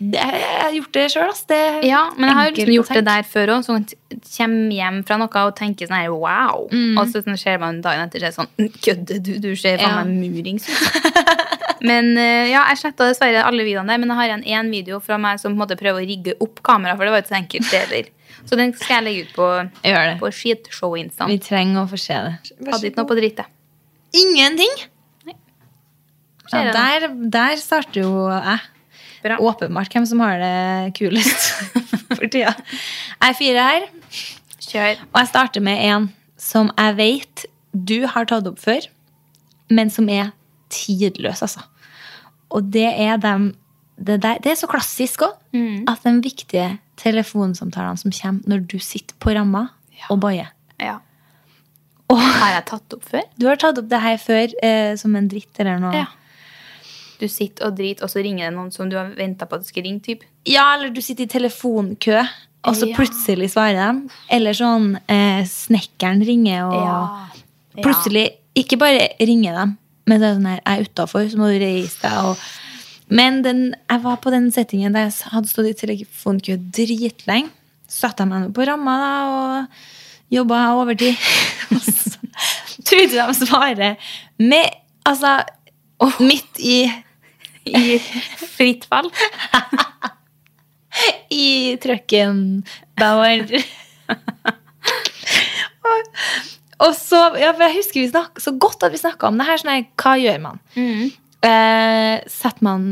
Speaker 1: det, jeg har gjort det sjøl, ass. Det er
Speaker 2: Ja, men jeg har
Speaker 1: enkelt
Speaker 2: liksom
Speaker 1: å
Speaker 2: gjort
Speaker 1: tenke.
Speaker 2: det der før òg. Sånn at jeg kommer hjem fra noe og tenker sånn her wow.
Speaker 1: Mm.
Speaker 2: Og så sånn, ser man dagen etter så er det sånn kødder du? Du ser faen
Speaker 1: Ja.
Speaker 2: meg murings ut. men eh, ja, jeg sletta dessverre alle videoene der, men jeg har igjen én video fra meg som på en måte prøver å rigge opp kamera, for det var jo ikke så enkelt deler. Så den skal jeg legge ut på,
Speaker 1: Gjør det.
Speaker 2: på skitshow-instaen.
Speaker 1: Vi trenger å få se det.
Speaker 2: Hadde ikke noe på drittet.
Speaker 1: Ingenting!
Speaker 2: Ser
Speaker 1: Ja,
Speaker 2: jeg det.
Speaker 1: der, der starter jo jeg.
Speaker 2: Bra.
Speaker 1: Åpenbart hvem som har det kulest for tida. Jeg er fire her,
Speaker 2: Kjør.
Speaker 1: og jeg starter med en som jeg vet du har tatt opp før, men som er tidløs, altså. Og det er dem Det, der, det er så klassisk òg,
Speaker 2: Mm.
Speaker 1: at de viktige telefonsamtalene som kommer når du sitter på ramma og boier.
Speaker 2: Ja.
Speaker 1: Åh.
Speaker 2: Har jeg tatt opp før?
Speaker 1: Du har tatt opp det her før eh, som en dritt eller noe.
Speaker 2: Ja. Du sitter og driter, og så ringer det noen som du har venta på at skal ringe, typ.
Speaker 1: Ja, eller du sitter i telefonkø, og så
Speaker 2: Ja.
Speaker 1: plutselig svarer de. Eller sånn eh, snekkeren ringer, og
Speaker 2: Ja.
Speaker 1: plutselig ikke bare ringer dem, men det er sånn her, jeg er utafor, så må du reise deg. og Men den, jeg var på den settingen der jeg s- hadde stått i telefonkø dritlenge. Satte jeg meg nå på ramma da, og jobba overtid. Og så trodde de svarer med Altså, midt i
Speaker 2: i fritt fall.
Speaker 1: i trucken Bauer. og, og så, ja, for jeg husker vi snak, så godt at vi snakka om det her. Sånn her, hva gjør man?
Speaker 2: Mm.
Speaker 1: Eh, setter man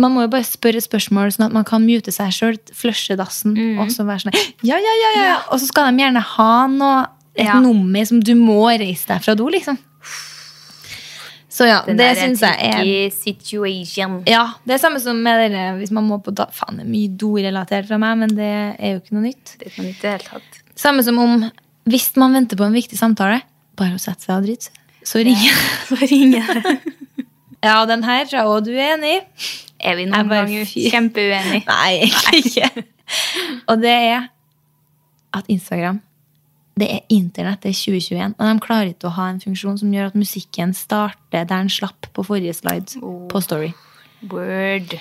Speaker 1: Man må jo bare spørre spørsmål, sånn at man kan mute seg sjøl, flushe dassen,
Speaker 2: Mm.
Speaker 1: og så være sånn ja, ja, ja, ja, ja. Og så skal de gjerne ha noe, et
Speaker 2: Ja.
Speaker 1: nummer som du må reise deg fra do, liksom. Så ja,
Speaker 2: Den
Speaker 1: det
Speaker 2: der
Speaker 1: syns jeg er
Speaker 2: tricky situation.
Speaker 1: ja, det er samme som med dere hvis man må på da, Faen, det er mye dorelatert fra meg, men det er jo ikke noe nytt.
Speaker 2: Det er ikke noe nytt i det hele tatt.
Speaker 1: Samme som om hvis man venter på en viktig samtale, bare å sette seg og drite, så ringer
Speaker 2: Så ringer jeg.
Speaker 1: Ja, og den her tror jeg òg du er enig i.
Speaker 2: Er vi
Speaker 1: Jeg
Speaker 2: noen
Speaker 1: bare
Speaker 2: ganger
Speaker 1: fy-
Speaker 2: kjempeuenige?
Speaker 1: Nei, egentlig ikke. Og det er at Instagram det er internett, det er 2021, og de klarer ikke å ha en funksjon som gjør at musikken starter der den slapp på forrige slide på Story.
Speaker 2: Word.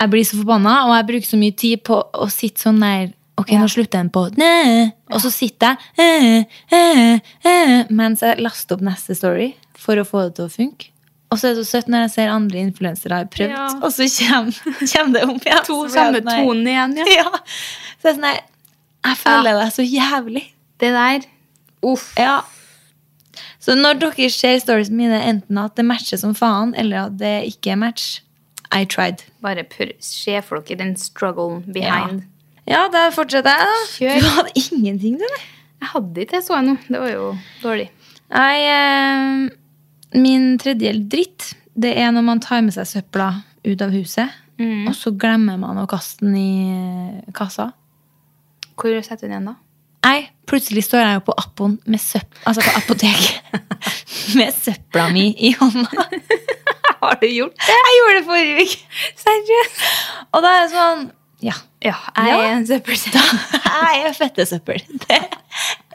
Speaker 1: jeg blir så forbanna, og jeg bruker så mye tid på å sitte sånn der Ok, nå slutter den på Næ. Og så sitter jeg eh, eh, eh, mens jeg laster opp neste story for å få det til å funke. Og så er det så søtt når jeg ser andre influensere har prøvd,
Speaker 2: Ja.
Speaker 1: og så kommer, kommer det opp igjen.
Speaker 2: To
Speaker 1: Så blir
Speaker 2: samme
Speaker 1: jeg sånn her-
Speaker 2: tonen igjen, ja.
Speaker 1: Ja. Så jeg er sånn her Jeg føler deg så jævlig.
Speaker 2: Det der. Uff.
Speaker 1: Ja. Så når dere ser storiesene mine, enten at det matcher som faen, eller at det ikke er match, I tried.
Speaker 2: Bare pr se for dere den strugglen behind.
Speaker 1: Ja, da fortsetter jeg, da.
Speaker 2: Kjør.
Speaker 1: Du hadde ingenting, du, eller?
Speaker 2: Jeg hadde ikke det, så jeg nå. Det var jo dårlig.
Speaker 1: Nei, eh, min tredje dritt, det er når man tar med seg søpla ut av huset,
Speaker 2: Mm.
Speaker 1: og så glemmer man å kaste den i eh, kassa.
Speaker 2: Hvor setter du den igjen, da?
Speaker 1: Nei, plutselig står jeg jo på Appon med søp... Altså på apoteket. med søpla mi i hånda.
Speaker 2: Har du gjort
Speaker 1: Jeg gjorde det forrige uke.
Speaker 2: Seriøst?
Speaker 1: Og da er jeg sånn Ja.
Speaker 2: Ja, jeg
Speaker 1: Ja.
Speaker 2: er en søppelsekk.
Speaker 1: Jeg er fettesøppel. Det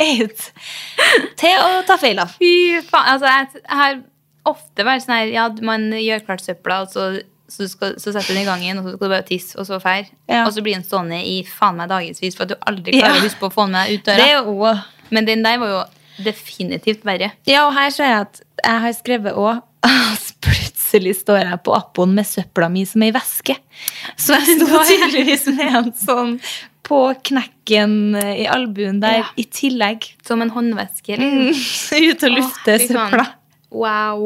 Speaker 1: er ut til å ta feil av.
Speaker 2: Fy faen. Altså, jeg, jeg har ofte vært sånn her Ja, man gjør klart søpla, og så, så, skal, så setter du den i gangen, og så skal du bare tisse, og så fær.
Speaker 1: Ja.
Speaker 2: Og så blir den stående i faen meg dagevis for at du aldri klarer
Speaker 1: Ja.
Speaker 2: å huske på å få den med deg ut
Speaker 1: Det
Speaker 2: døra.
Speaker 1: er jo
Speaker 2: Men den der var jo definitivt verre.
Speaker 1: Ja, og her ser jeg at jeg har skrevet òg Plutselig står jeg på Appon med søpla mi som ei væske. Så jeg sto tydeligvis med en sånn på knekken i albuen der
Speaker 2: Ja.
Speaker 1: i tillegg.
Speaker 2: Som en håndveske. Eller?
Speaker 1: Ute og Mm. lufte
Speaker 2: Å, fy faen.
Speaker 1: søpla.
Speaker 2: Wow.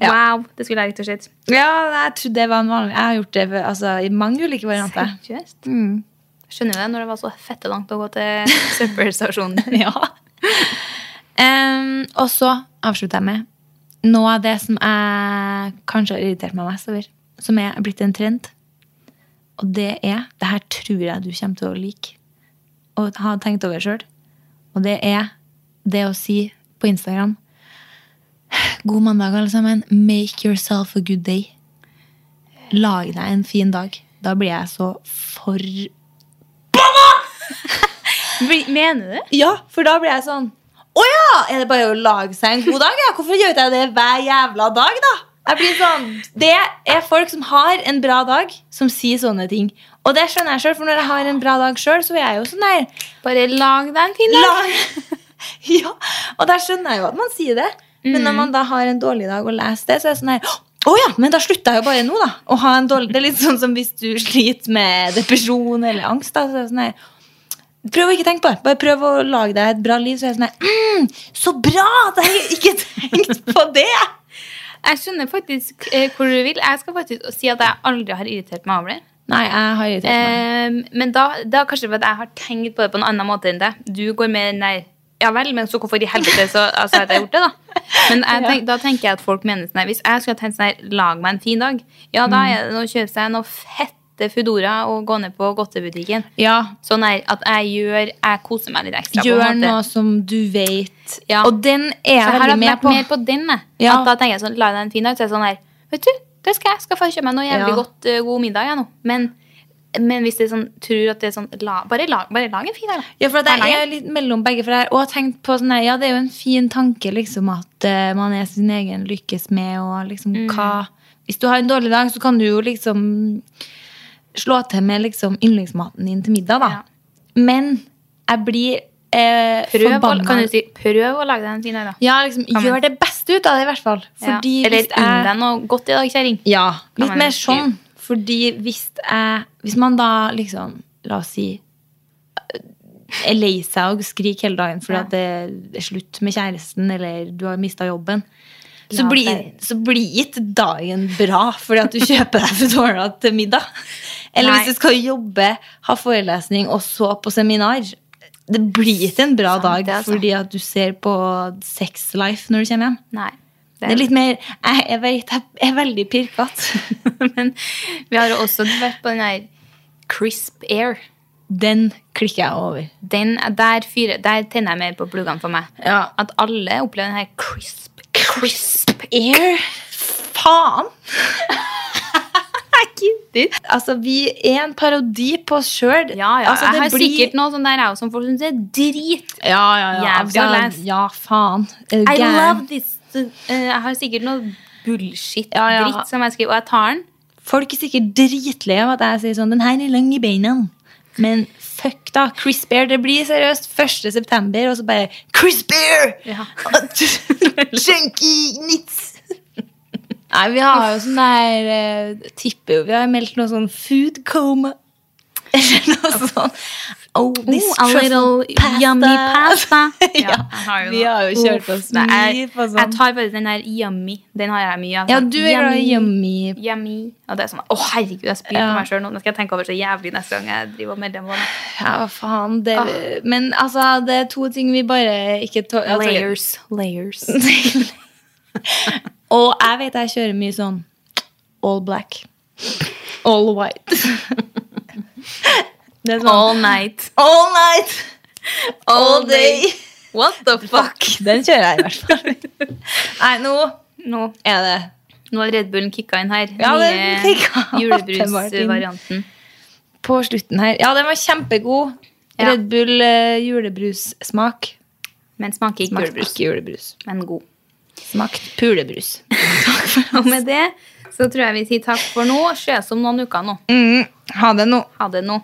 Speaker 2: Wow, Det skulle jeg rett og slett.
Speaker 1: Ja, jeg trodde det var en vanlig Jeg har gjort det altså, i mange ulike varianter.
Speaker 2: Seriøst?
Speaker 1: Mm.
Speaker 2: Skjønner du det når det var så fette langt å gå til søppelstasjonen?
Speaker 1: Ja. Em, og så avslutter jeg med noe av det som jeg kanskje har irritert meg mest over, som er blitt en trend. Og det er Det her tror jeg du kommer til å like og har tenkt over sjøl. Og det er det å si på Instagram God mandag, alle sammen. Make yourself a good day. Lag deg en fin dag. Da blir jeg så for
Speaker 2: Mener du det?
Speaker 1: Ja, for da blir jeg sånn Å ja! Er det bare å lage seg en god dag? Ja? Hvorfor gjør ikke jeg det hver jævla dag, da? Jeg blir sånn Det er folk som har en bra dag, som sier sånne ting. Og det skjønner jeg sjøl, for når jeg har en bra dag sjøl, så er jeg jo sånn der
Speaker 2: Bare lag deg en fin dag.
Speaker 1: la- Ja, Og da skjønner jeg jo at man sier det. Men når man da har en dårlig dag og leser det, så er jeg sånn her å ja, men da slutter jeg jo bare nå, da. Å ha en dårlig, det er litt sånn som hvis du sliter med depresjon eller angst. da, så er det sånn her, Prøv å ikke tenke på det. Bare prøv å lage deg et bla liv. Så er jeg sånn her, mm, så bra at jeg ikke tenkte på det!
Speaker 2: Jeg skjønner faktisk eh, hvor du vil. Jeg skal faktisk si at jeg aldri har irritert meg over det.
Speaker 1: Nei, jeg har irritert meg.
Speaker 2: Eh, men da, da kanskje fordi jeg har tenkt på det på en annen måte enn deg. Du går med den der Ja vel, men så hvorfor i helvete så altså, har jeg gjort det, da? Men jeg tenk, da tenker jeg at folk mener sånn her Hvis jeg skulle ha tenkt sånn her Lag meg en fin dag. Ja, da
Speaker 1: Mm.
Speaker 2: er det å kjøpe seg noe fette Foodora og gå ned på godtebutikken.
Speaker 1: Ja,
Speaker 2: Sånn her at jeg gjør Jeg koser meg litt ekstra. på
Speaker 1: gjør
Speaker 2: en måte.
Speaker 1: noe som du vet.
Speaker 2: Ja.
Speaker 1: Og den er
Speaker 2: Så
Speaker 1: jeg
Speaker 2: her har
Speaker 1: veldig
Speaker 2: jeg
Speaker 1: med
Speaker 2: vært
Speaker 1: på.
Speaker 2: mer på den. jeg.
Speaker 1: Ja.
Speaker 2: At da tenker jeg sånn, la deg en fin dag. Så er jeg sånn her, vet du, det skal jeg. Skal få kjøpe meg noe jævlig
Speaker 1: Ja.
Speaker 2: godt, eh, god middag jeg nå. Men, men hvis det er sånn, tror at det er sånn, la, bare, lag, bare lag en fin dag. da.
Speaker 1: Ja, for at jeg
Speaker 2: Erlangen?
Speaker 1: er litt mellom begge for det her, og har tenkt på sånn her, ja, det er jo en fin tanke liksom at eh, man er sin egen lykkes med, og liksom
Speaker 2: Mm.
Speaker 1: hva Hvis du har en dårlig dag, så kan du jo liksom slå til med liksom yndlingsmaten din til middag, da.
Speaker 2: Ja.
Speaker 1: Men jeg blir eh,
Speaker 2: Prøv, å,
Speaker 1: forbanna.
Speaker 2: kan du si, prøv å lage deg en fin dag da.
Speaker 1: Ja, liksom,
Speaker 2: man-
Speaker 1: gjør det beste ut av det, i hvert fall. Fordi
Speaker 2: ja. Eller
Speaker 1: hvis jeg-
Speaker 2: unn deg noe godt i dag, kjæring.
Speaker 1: ja,
Speaker 2: Kan
Speaker 1: litt
Speaker 2: man
Speaker 1: mer
Speaker 2: si.
Speaker 1: sånn. Fordi hvis jeg Hvis man da liksom La oss si er lei seg og skriker hele dagen fordi
Speaker 2: Ja.
Speaker 1: at det er slutt med kjæresten eller du har mista jobben, så
Speaker 2: La
Speaker 1: blir,
Speaker 2: deg-
Speaker 1: så blir ikke dagen bra fordi at du kjøper deg Foodora til middag. Eller
Speaker 2: Nei.
Speaker 1: hvis du skal jobbe, ha forelesning og så på seminar. Det blir ikke en bra
Speaker 2: Sant
Speaker 1: dag
Speaker 2: det, altså.
Speaker 1: fordi at du ser på Sex Life når du kommer hjem.
Speaker 2: Nei.
Speaker 1: Det er litt mer Jeg er, veit- jeg er veldig pirkete.
Speaker 2: men vi har jo også vært på den her crisp air.
Speaker 1: Den klikker jeg over.
Speaker 2: Den, der, fyrer- der tenner jeg mer på pluggene for meg.
Speaker 1: Ja.
Speaker 2: At alle opplever den her crisp, crisp
Speaker 1: Air? Faen!
Speaker 2: Jeg gidder.
Speaker 1: Altså, vi er en parodi på oss sjøl.
Speaker 2: Ja, ja.
Speaker 1: altså,
Speaker 2: jeg
Speaker 1: det
Speaker 2: har
Speaker 1: blir-
Speaker 2: sikkert noe sånn der jeg også, som folk syns er drit.
Speaker 1: Ja, ja, ja.
Speaker 2: Jævlig å lese.
Speaker 1: ja, faen. Er du
Speaker 2: I
Speaker 1: gæren?
Speaker 2: love this. Eh, Jeg har sikkert noe bullshit-dritt
Speaker 1: uh, Ja, ja.
Speaker 2: som jeg skriver, og jeg tar den.
Speaker 1: Folk er sikkert dritleie av at jeg sier sånn Den her er lang i beina. Men fuck, da. Chris Bear. Det blir seriøst 1. september, og så bare Chris Bear!
Speaker 2: Ja.
Speaker 1: Junkie nits! Nei, vi har jo sånn der eh, Tipper jo Vi har meldt noe sånn food coma. Eller noe sånn Oh, this
Speaker 2: Oh, a little
Speaker 1: truffle pasta.
Speaker 2: yummy pasta.
Speaker 1: ja,
Speaker 2: jeg har jo
Speaker 1: vi
Speaker 2: noe.
Speaker 1: har jo kjørt oss
Speaker 2: Uff, nei,
Speaker 1: mye på
Speaker 2: Jeg, jeg
Speaker 1: sånn.
Speaker 2: tar bare den der yummy. Den har jeg mye av.
Speaker 1: Ja, du er glad i yummy.
Speaker 2: Yummy. Og det er sånn, Å, herregud, jeg spyr
Speaker 1: Ja.
Speaker 2: på meg sjøl nå. Nå skal jeg tenke over så jævlig neste gang jeg driver og melder meg. på det.
Speaker 1: Ja, hva faen. Det,
Speaker 2: Ah.
Speaker 1: Men altså, det er to ting vi bare ikke tå- altså,
Speaker 2: Layers. Layers.
Speaker 1: Og jeg vet jeg kjører mye sånn all black. All white. Det er sånn
Speaker 2: All night.
Speaker 1: all night, all day.
Speaker 2: What the fuck?
Speaker 1: Den kjører jeg i hvert fall. Nei, nå
Speaker 2: Nå
Speaker 1: er det
Speaker 2: Nå har Red Bullen kicka inn her.
Speaker 1: Ja, den
Speaker 2: Nye
Speaker 1: kicka inn.
Speaker 2: julebrusvarianten.
Speaker 1: på slutten her. Ja, den var kjempegod.
Speaker 2: Ja.
Speaker 1: Red Bull eh, julebrussmak.
Speaker 2: Men smaker ikke
Speaker 1: Smakte
Speaker 2: julebrus.
Speaker 1: ikke julebrus.
Speaker 2: Men god.
Speaker 1: Smakte pulebrus.
Speaker 2: Og med det så tror jeg vi sier takk for nå. Ses om noen uker nå.
Speaker 1: Mm, ha det nå.
Speaker 2: Ha det nå.